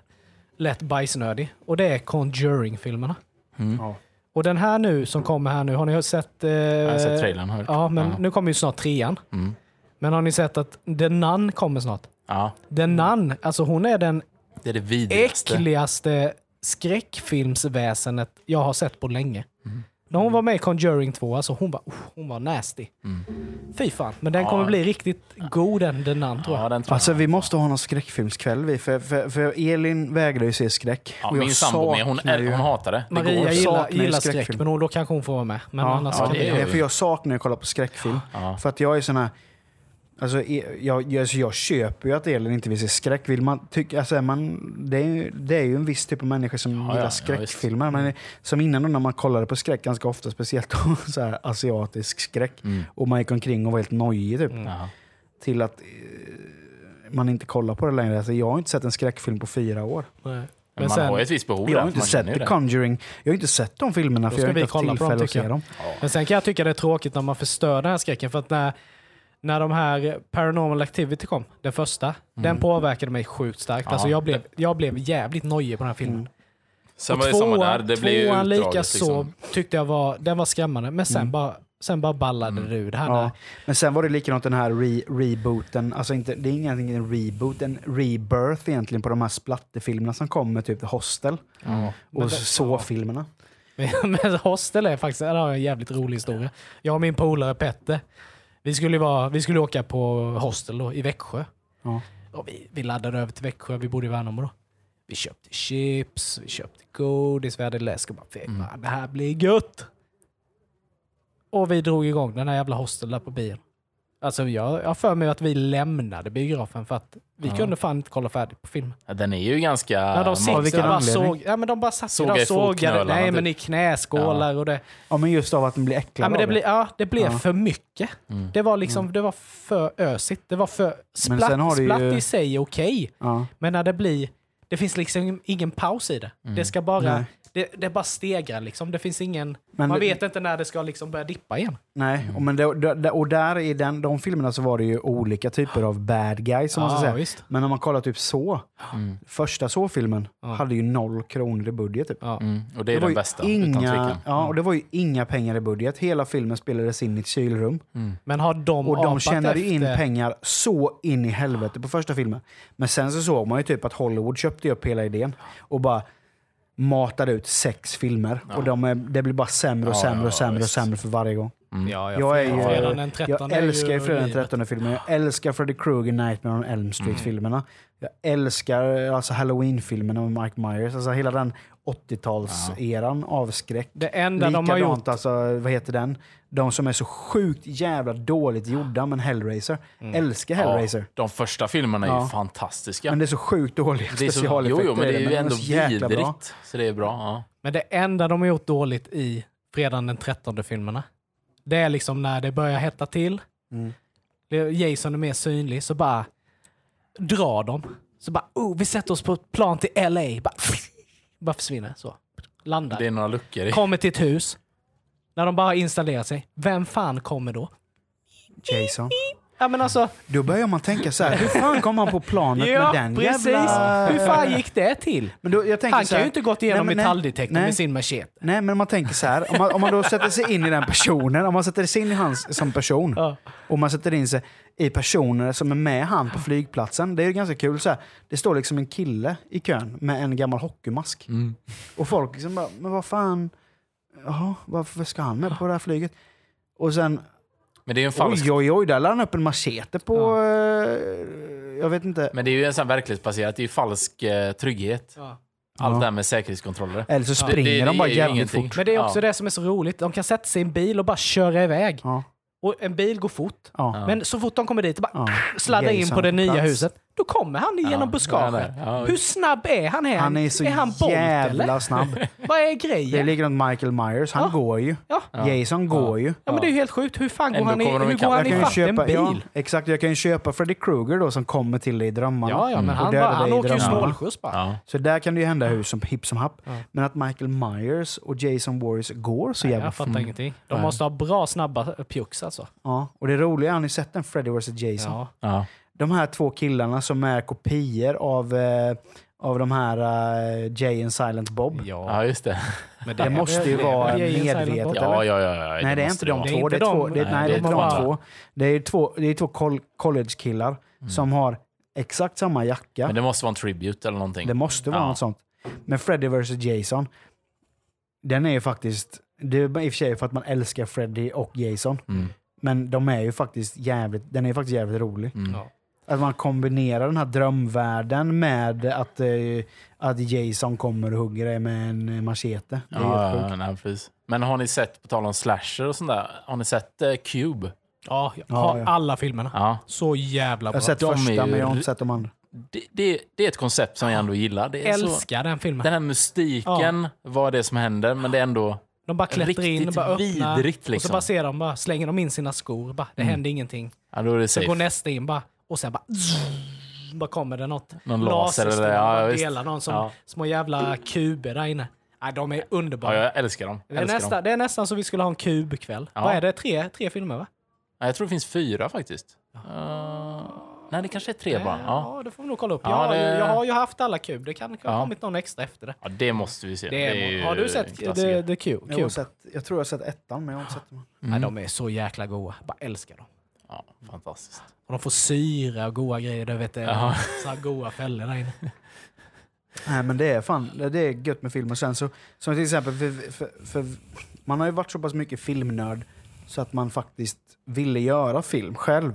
A: lätt bajsnödig. Och det är Conjuring-filmerna.
B: Ja.
A: Och den här nu som kommer här nu, har ni sett? Eh, jag
C: har sett trailern, har jag hört.
A: Ja, men
C: Ja.
A: nu kommer ju snart trean.
C: Mm.
A: Men har ni sett att The Nun kommer snart?
C: Ja,
A: The Nun, alltså hon är den
C: det är det vidrigaste.
A: äckligaste skräckfilmsväsendet jag har sett på länge. När hon var med i Conjuring 2, alltså hon var, oh, hon var nasty. Fy fan, men den
C: Ja.
A: kommer bli riktigt god den, den andra tror jag.
C: Ja, den tror
B: Alltså vi måste ha någon skräckfilmskväll vi, för, för, för Elin vägrar ju se skräck.
C: jag. Ja, min sambo med, hon,
B: saknar
C: är,
B: ju-
C: hon hatar det. det
A: Maria
C: går.
A: gillar,
B: Saknar ju
A: gillar skräck,
B: skräckfilm.
A: men hon, då kanske hon får vara med. Men
B: ja,
A: annars
B: ja,
A: kan
B: det
A: vi...
B: är för jag saknar att kolla på skräckfilm.
C: Ja.
B: För att jag är sån här... Alltså, e- jag, jag, alltså, jag köper ju att Elin inte vill se skräck. Vill man tycka, alltså, är man, det, är, ju- det är ju en viss typ av människor som
C: ja,
B: gillar
C: ja,
B: skräckfilmer. men som innan då, när man kollade på skräck ganska ofta, speciellt då, (laughs) så här, asiatisk skräck,
C: Mm.
B: och man gick omkring och var helt nojig typ.
C: Ja.
B: Till att eh, man inte kollar på det längre. Alltså, jag har inte sett en skräckfilm på fyra år.
A: Nej.
C: Men man har ju ett visst behov
B: Jag har
C: där, för
B: inte
C: man
B: sett
C: känner ju
B: The
C: det.
B: Conjuring. Jag har inte sett de filmerna
A: Då
B: för jag
A: ska
B: har inte
A: vi
B: haft
A: kolla på dem
B: tillfälle att
A: tycker
B: se
A: jag.
B: dem.
A: Men sen kan jag tycka det är tråkigt när man förstör den här skräcken. För att när, när de här Paranormal Activity kom, den första, den påverkade mig sjukt starkt.
C: Ja.
A: Alltså jag, blev, jag blev jävligt nojig på den här filmen.
C: Sen
A: Och
C: var det samma där. Det blir ju
A: tvåan
C: utdraget.
A: lika så
C: liksom. Mm.
A: tyckte jag var, den var skrämmande. Men sen, bara, sen bara ballade det ur. Det här
B: Ja.
A: ja.
B: Men sen var det likadant den här re rebooten. Alltså inte, det är ingen en reboot, en rebirth egentligen på de här splatterfilmerna som kommer, typ Hostel och Så-filmerna.
A: Men, (laughs) men Hostel är faktiskt det har en jävligt rolig historia. Jag och min polare Petter, vi skulle, vara, vi skulle åka på Hostel då, i Växjö.
B: Ja.
A: Och vi, vi laddade över till Växjö, vi bodde i Värnamo då. Vi köpte chips, vi köpte godis, vi hade läsk och bara fy fan, det här blir gött! Och vi drog igång den här jävla hostel där på bion. Alltså jag jag har för mig att vi lämnade biografen för att vi
C: Ja.
A: kunde fan inte kolla färdigt på filmen.
C: Ja, Den är ju ganska...
A: Ja, de
C: Av
A: sitter
C: vilken
A: bara
C: anledning?
A: såg, ja, men de bara satt
C: Såga
A: där
C: i
A: och sågade.
C: fotknölarna,
A: Nej,
C: typ.
A: men i knäskålar och det.
B: ja, men just av att den blir äcklad
A: Ja, men det,
B: av
A: blir, ja, det blev
B: Ja. Mm.
A: för mycket. Det var liksom, det var för ösigt. Det var för...
B: Men
A: Splatt,
B: sen har det ju-
A: splatt i sig är okej.
B: Ja.
A: Men när det blir... Det finns liksom ingen paus i det. Det ska
B: Nej.
A: bara... Det, det bara stegrar liksom. Det finns ingen...
B: Men
A: man
B: det-
A: vet inte när det ska liksom börja dippa igen.
B: Nej,
A: Mm.
B: och, men det, det, och där i den, de filmerna så var det ju olika typer av bad guys. Som man ska
A: Ja,
B: säga.
A: visst. Mm.
B: Men om man kollar typ så, första så-filmen hade ju noll kronor i budget. Typ.
A: Ja.
C: Mm, och det är
B: var
C: den
B: ju
C: bästa, utan
B: inga,
C: tvekan.
B: ja, och det var ju inga pengar i budget. Hela filmen spelades in i ett kylrum.
C: Mm.
A: Men har de
B: Och de
A: apat
B: tjänade ju in
A: efter-
B: pengar så in i helvete på första filmen. Men sen så såg man ju typ att Hollywood köpte upp hela idén och bara matade ut sex filmer. Och de är, det blir bara sämre och
C: Ja,
B: sämre
C: ja,
B: och sämre och
C: visst.
B: sämre för varje gång.
A: Ja, ja,
B: jag, är
A: fredag-
B: ju,
A: fredagen den 13
B: jag
A: är ju
B: älskar ju Fredagen den
A: livet.
B: 13 filmen. Jag älskar Freddy Krueger Nightmare on Elm Street-filmerna. Jag älskar alltså Halloween-filmerna med Mike Myers. Alltså hela den 80-talseran av skräck.
A: Det enda de har gjort-
B: alltså, vad heter den? De som är så sjukt jävla dåligt gjorda, men Hellraiser. Älskar Hellraiser.
C: Ja, de första filmerna är ju
B: Ja.
C: fantastiska.
B: Men det är så sjukt dåliga
C: Det är så, jo,
B: specialeffekter.
C: jo, men
B: i
C: det är
B: den,
C: ju
B: de
C: ändå
B: så jäkla bra.
C: vidrigt. Så det är bra. Ja.
A: Men det enda de har gjort dåligt i Fredagen den 13 filmerna, det är liksom när det börjar hetta till,
B: Mm.
A: det- Jason är mer synlig, så bara drar de. Så bara, oh, vi sätter oss på ett plan till LA. Bara, (laughs) bara försvinner så. Landar.
C: Det är några luckor i.
A: Kommer till ett hus. När de bara har installerat sig. Vem fan kommer då?
B: Jason.
A: Ja men alltså.
B: Då börjar man tänka så här, hur fan kom han på
A: (laughs)
B: planet
A: Ja,
B: med den
A: precis.
B: jävla...
A: Hur fan gick det till?
B: Men då, jag tänker
A: Han
B: så
A: kan
B: här,
A: ju inte gått igenom
B: nej, men nej,
A: metalldetektorn
B: nej.
A: med sin machete.
B: Nej, men om man tänker så här. Om man, om man då sätter sig in i den personen, om man sätter sig in i hans som person och man sätter in sig i personer som är med han på flygplatsen. Det är ju ganska kul. så här. Det står liksom en kille i kön med en gammal hockeymask.
C: Mm.
B: Och folk liksom bara, men vad fan, jaha, varför ska han med på det här flyget? Och sen,
C: Men det är ju en falsk...
B: oj oj oj, där lade han upp en machete på, eh, jag vet inte.
C: Men det är ju en sån här verklighetsbaserad, det är ju falsk eh, trygghet. Allt
B: Ja. Eh.
C: det här med säkerhetskontroller.
B: Eller så
C: Ja.
B: springer
C: Det- det-
B: de bara
C: det är ju
B: jävligt
C: ingenting.
B: fort.
A: Men det är också
C: Ja.
A: det som är så roligt. De kan sätta sig i en bil och bara köra iväg. Och en bil går fort.
B: Ja.
A: Men så fort de kommer dit och bara sladdar in
B: Jason
A: på det
B: på
A: nya
B: plats.
A: huset, då kommer han genom buskaget.
B: Ja, ja, ja.
A: Hur snabb är han? Här?
B: Han är så
A: han Bolt,
B: jävla
A: eller? (laughs)
B: snabb.
A: Vad är
B: Det är
A: grejen?
B: likadant Michael Myers, han går ju. Jason går ju.
A: Ja, men det är ju helt sjukt. Hur fan går han, i, hur går han
B: Jag kan ju
A: ifatt
B: köpa,
A: en bil?
B: Ja, exakt, jag kan ju köpa Freddy Krueger då som kommer till dig i drömmarna.
A: Ja, ja, men
B: Mm. och
A: han
B: dödar
A: bara- han
B: dig i
A: åker ju
B: drömmarna.
A: snålskjuts bara. Ja.
B: Så där kan det ju hända hur som hipp som happ. Men att Michael Myers och Jason Warriors går så jävla
A: Jag fattar
B: fort.
A: ingenting.
B: Mm. Nej.
A: De måste ha bra snabba pjucks alltså.
B: Ja, och det roliga, har ni sett den Freddy vs Jason?
A: Ja.
C: Ja.
B: De här två killarna som är kopior av, eh, av de här eh, Jay and Silent Bob.
C: Ja, just det.
A: Men
B: det, måste ju vara medvetet.
C: Ja,
B: eller?
C: ja, ja, ja.
B: nej, det är
C: måste
B: inte de
C: vara.
B: två. Det är två. Det, nej, de
C: är
B: var
C: två.
B: två. Det är två, det är två col- college-killar som har exakt samma jacka.
C: Mm. Men det måste vara en tribute eller någonting.
B: Det måste vara
C: Ja.
B: något sånt. Men Freddy vs Jason, den är ju faktiskt... Det är i och för sig för att man älskar Freddy och Jason.
C: Mm.
B: Men de är ju faktiskt jävligt, den är ju faktiskt jävligt rolig.
C: Mm.
A: Ja.
B: Att man kombinerar den här drömvärlden med att, eh, att Jason kommer och hugger dig med en machete. Det är
C: Ja,
B: helt
C: ja,
B: sjukt.
C: nej, precis. Men har ni sett, på tal om slasher och sånt där, har ni sett eh, Cube?
A: Ja, jag
C: Ja,
A: har
C: ja.
A: alla filmerna.
C: Ja.
A: Så jävla
B: Jag
A: bra.
B: har sett
C: De är
B: första
C: ju
B: men jag har
C: ri-
B: inte sett de andra.
C: Det, det, det är ett koncept som jag ändå gillar. Det är
A: Älskar den filmen.
C: Den här mystiken, vad det är som händer, men det är ändå
A: De bara klättrar in och
C: riktigt
A: bara öppnar.
C: vidrigt.
A: Och så
C: Liksom.
A: bara ser de, bara, slänger de in sina skor. Bara, det
C: Mm.
A: händer ingenting.
C: ja, då är det
A: Så går
C: safe.
A: nästa in bara, och sen bara... (laughs) Bara kommer det något.
C: Någon laser eller-
A: står och
C: ja,
A: bara
C: visst.
A: delar någon som
C: Ja.
A: små jävla kuber där inne. Nej, de är
C: Ja,
A: underbara.
C: jag älskar dem.
A: det, är
C: älskar
A: nästa,
C: dem.
A: det är nästan så vi skulle ha en kubkväll.
C: Ja.
A: Vad är det? Tre, tre filmer va?
C: Ja, jag tror det finns fyra faktiskt. Eh, nej, det kanske är tre bara. Ja.
A: Eh, Ja, det får vi nog kolla upp.
C: Ja,
A: jag, har ju-
C: det-
A: jag har ju haft alla kub. Det kan ha
C: Ja.
A: kommit någon extra efter det.
C: Ja, det måste vi se.
A: Det är-
C: ju
A: har du
C: en
A: sett
C: klassiker.
A: The, the Cube?
B: Jag, har sett, jag tror jag har sett ettan men jag har inte sett dem.
A: Nej,
C: Mm.
A: de är så jäkla goa. Bara älskar dem.
C: Ja, fantastiskt.
A: Och de får syra och goa grejer. Du vet,
C: Ja.
A: så här goa fällor där
C: (laughs)
A: inne.
B: Nej men det är fan, det är gött med film. Och sen så, som till exempel, för, för, för, man har ju varit så pass mycket filmnörd så att man faktiskt ville göra film själv.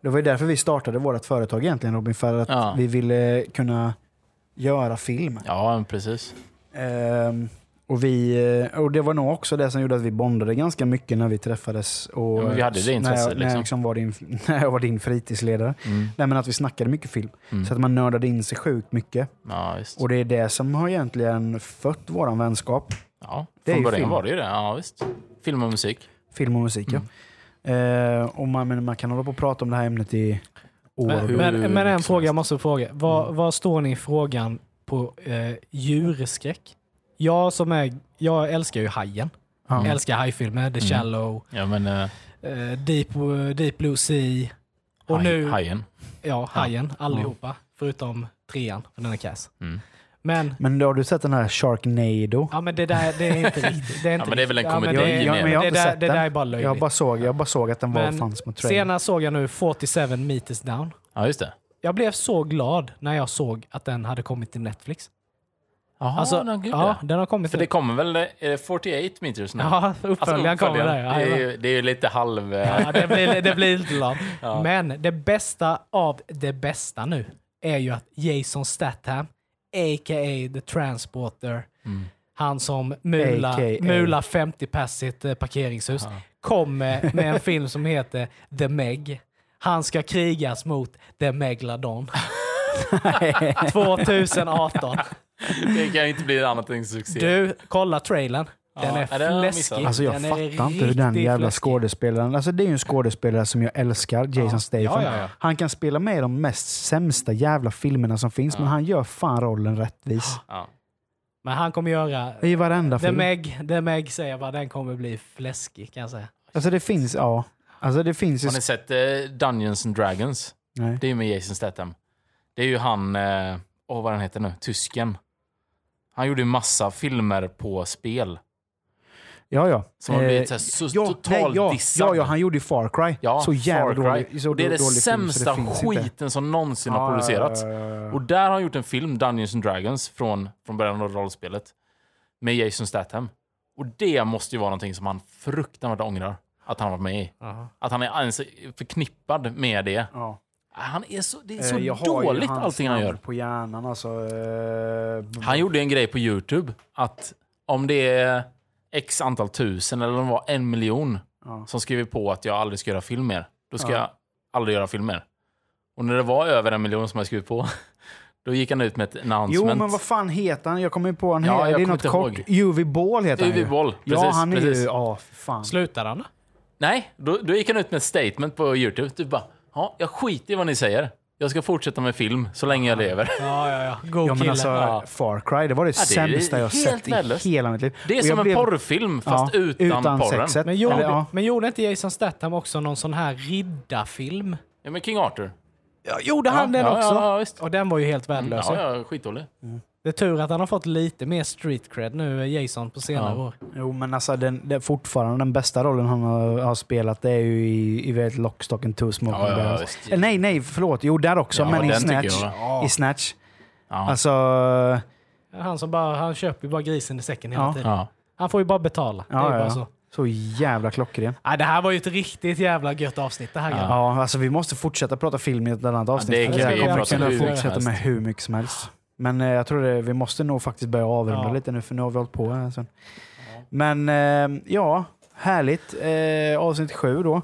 B: Det var ju därför vi startade vårt företag egentligen Robin, för att
C: Ja.
B: vi ville kunna göra film.
C: Ja, men precis.
B: Ehm, och, vi, eh, och det var nog också det som gjorde att vi bondade ganska mycket när vi träffades. Och
C: Ja, men vi hade det
B: när
C: intresset,
B: jag, när jag,
C: liksom.
B: liksom var, din, (laughs) när jag var din fritidsledare.
C: Mm.
B: Nej, men att vi snackade mycket film. Så att man nördade in sig sjukt mycket.
C: Ja, visst.
B: Och det är det som har egentligen fött våran vänskap.
C: Ja,
B: det är ju
C: från början
B: film.
C: var det ju det. Ja, visst. Film och musik.
B: Film och musik, ja. Eh, och man, men man kan hålla på och prata om det här ämnet i år. och
A: Men,
B: dag.
A: men, men en fråga jag måste fråga. Vad,
C: Mm.
A: vad står ni i frågan på eh, djurskräck? Jag som är, jag älskar ju hajen.
B: Ja.
A: Älskar hajfilmer, The
C: Mm.
A: Shallow,
C: Ja, men eh,
A: eh, Deep, Deep Blue Sea. Och
C: haj,
A: nu,
C: Hajen.
A: Ja, hajen allihopa. Förutom trean, för den är kass.
C: Mm.
A: Men,
B: men då har du sett den här Sharknado?
A: ja men det där, det är inte riktigt. Det är inte
C: Ja, men det är väl en
A: riktigt.
C: komedi
A: men det-
C: mer.
A: ja,
B: men
A: men
B: jag har
A: det
B: inte
A: där-
B: sett
A: Det
B: den.
A: där är bara löjligt.
B: Jag bara såg, jag bara såg att den var, fanns på trailern.
A: senast såg jag nu 47 Meters Down.
C: Ja, just det.
A: Jag blev så glad när jag såg att den hade kommit till Netflix.
C: Jaha,
A: Alltså,
C: den, gud,
A: ja,
C: ja.
A: den har kommit
C: För
A: nu.
C: det alltså, kommer väl är det 48 meters nu?
A: Ja, uppföljaren kommer där, ja,
C: Det är, ju,
A: jajamän.
C: det är ju lite halv... eh,
A: Ja, det blir, det blir
C: (laughs)
A: lite lamt.
C: Ja.
A: Men det bästa av det bästa nu är ju att Jason Statham, a.k.a. The Transporter,
C: Mm.
A: han som
B: AKA.
A: mular mula 50 pass i ett eh, parkeringshus,
C: (laughs)
A: kommer med en film som heter The Meg. Han ska krigas mot The
C: (laughs)
A: Megladon. 2018.
C: Det kan ju inte bli annat än succé.
A: Du, kolla trailern. Den
C: Ja,
A: är
C: ja, den har jag missat.
A: fläskig.
B: Alltså jag
A: den är
B: fattar inte hur den
A: riktigt
B: jävla
A: fläskig.
B: skådespelaren... Alltså det är ju en skådespelare som jag älskar, Jason Statham.
A: Ja, ja, ja.
B: Han kan spela med i de mest sämsta jävla filmerna som finns, men han gör fan rollen rättvis.
A: Men han kommer göra...
B: I varenda
A: The
B: film.
A: Meg, The Meg säger jag bara, den kommer bli fläskig kan jag säga.
B: Alltså det finns, ja. Alltså det finns ju...
C: Har ni sett eh, Dungeons and Dragons?
B: Nej.
C: Det är ju med Jason Statham. Det är ju han, eh, åh vad han heter nu, tysken. Han gjorde ju massa filmer på spel.
B: Ja, ja. Eh,
C: Som har blivit så här så totalt
B: ja,
C: dissad.
B: ja, ja, han gjorde ju Far Cry.
C: Ja,
B: så jävla
C: Far Cry.
B: dålig. Så
C: det är det
B: dålig film, så
C: sämsta
B: finns inte.
C: skiten som någonsin har
B: Ja,
C: producerats.
B: ja, ja, ja, ja.
C: Och där har han gjort en film, Dungeons and Dragons, från, från början av rollspelet. Med Jason Statham. Och det måste ju vara någonting som han fruktansvärt ångrar. Att han var med i. Att han är ens förknippad med det. Han är så, det är så
B: Eh, jag har ju
C: dåligt
B: hans
C: allting han
B: namn
C: gör.
B: på hjärnan alltså. eh,
C: Han gjorde en grej på YouTube att om det är x antal tusen eller om det var en miljon
B: Ja.
C: som skriver på att jag aldrig ska göra film mer, då ska
B: Ja.
C: jag aldrig göra film mer. Och när det var över en miljon som jag skrivit på, (laughs) då gick han ut med ett
B: Jo,
C: announcement.
B: men vad fan heter han? Jag kommer inte på han
C: Ja,
B: ja,
C: jag
B: Det är
C: kommer
B: något
C: inte
B: kort.
C: ihåg.
B: UV Ball heter han
C: UV
B: ju.
C: Ball,
B: ja,
C: precis,
B: han är
C: precis.
B: ju... Ja, för fan.
A: Slutar han då?
C: Nej, då, då gick han ut med ett statement på YouTube. Typ bara, ja, jag skiter i vad ni säger. Jag ska fortsätta med film så länge jag lever.
A: Ja, ja, ja. Go
B: Ja, men
A: kille.
B: alltså,
C: Ja.
B: Far Cry, det var det
C: Ja, det är
B: sämsta jag
C: helt
B: sett
C: värdelöst.
B: i hela mitt liv.
C: Det är
B: Och jag
C: som en
B: blev-
C: porrfilm, fast utan porren.
B: Sexet.
A: Men gjorde,
B: Eller, ja.
A: men gjorde inte Jason Statham också någon sån här riddarfilm?
C: Ja, men King Arthur.
A: Ja, gjorde han
C: Ja,
A: den
C: ja,
A: också?
C: ja, visst.
A: Och den var ju helt värdelös.
C: Ja, ja, skitdålig.
A: Det är tur att han har fått lite mer street cred nu, Jason, på senare
C: Ja.
A: år.
B: Jo, men alltså den, den, fortfarande den bästa rollen han har, har spelat det är ju i, i vet, Lockstock and Two Smoking
C: Ja, ja, ja,
B: Barrels.
C: visst.
B: Eller nej, nej, förlåt. Jo, där också,
C: Ja,
B: men i
C: den tycker
B: Snatch.
C: jag,
B: I Snatch.
C: Ja.
B: Alltså,
A: Han, som bara, han köper ju bara grisen i säcken hela
B: Ja.
A: tiden.
C: Ja.
A: Han får ju bara betala. det är
B: ja,
A: ju bara
B: ja.
A: så.
B: Så. jävla klockren.
A: Nej, det här var ju ett riktigt jävla gött avsnitt det här. grabbar.
B: Ja, alltså vi måste fortsätta prata film i ett annat avsnitt.
C: det
B: för
C: kan
A: vi
B: kommer
A: prata
B: kunna
A: hur mycket
B: fortsätta
C: som
B: med
C: helst.
B: hur mycket som helst. Men eh, jag tror det, vi måste nog faktiskt börja avrunda
A: Ja.
B: lite nu, för nu har vi hållit på här sen. Men eh, ja, härligt. Eh, avsnitt sju då.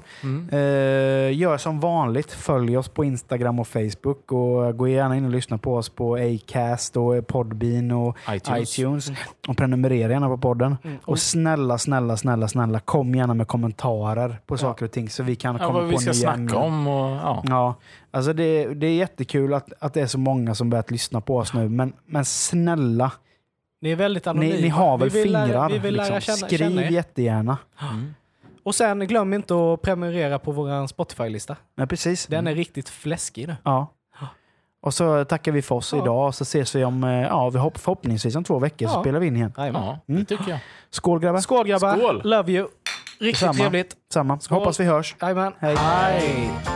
B: Eh, gör som vanligt. Följ oss på Instagram och Facebook. Och gå gärna in och lyssna på oss på Acast och Podbean och
C: iTunes.
B: iTunes. Och prenumerera gärna på podden. Och snälla, snälla, snälla, snälla kom gärna med kommentarer på saker och ting så vi kan
C: Ja,
B: komma
C: vad
B: på
C: vi ska
B: nya
C: snacka
B: ämnen.
C: om och... Ja.
B: Ja, alltså det, det är jättekul att, att det är så många som börjat lyssna på oss nu, men, men snälla,
A: Ni är väldigt anonyma.
B: ni, ni har
A: Vi
B: väl
A: vill lära-
B: fingrar?
A: vi vill lära
B: liksom.
A: känna-
B: Skriv
A: känna er.
B: jättegärna.
A: Och sen glöm inte att prenumerera på vår Spotify-lista.
B: Ja, precis.
A: Den är riktigt fläskig nu.
B: Ja. Och så tackar vi för oss
A: Ja.
B: idag och så ses vi om, eh, ja, vi hopp, förhoppningsvis om två veckor så
A: Ja.
B: spelar vi in igen.
A: Jajamän.
C: ja, det tycker jag.
B: Skål grabbar!
A: Skål grabbar!
C: Skål!
A: Love you! Riktigt
B: Samma.
A: trevligt!
B: Samma. Hoppas vi hörs.
A: Jajamän!
B: Hej.
A: Hej.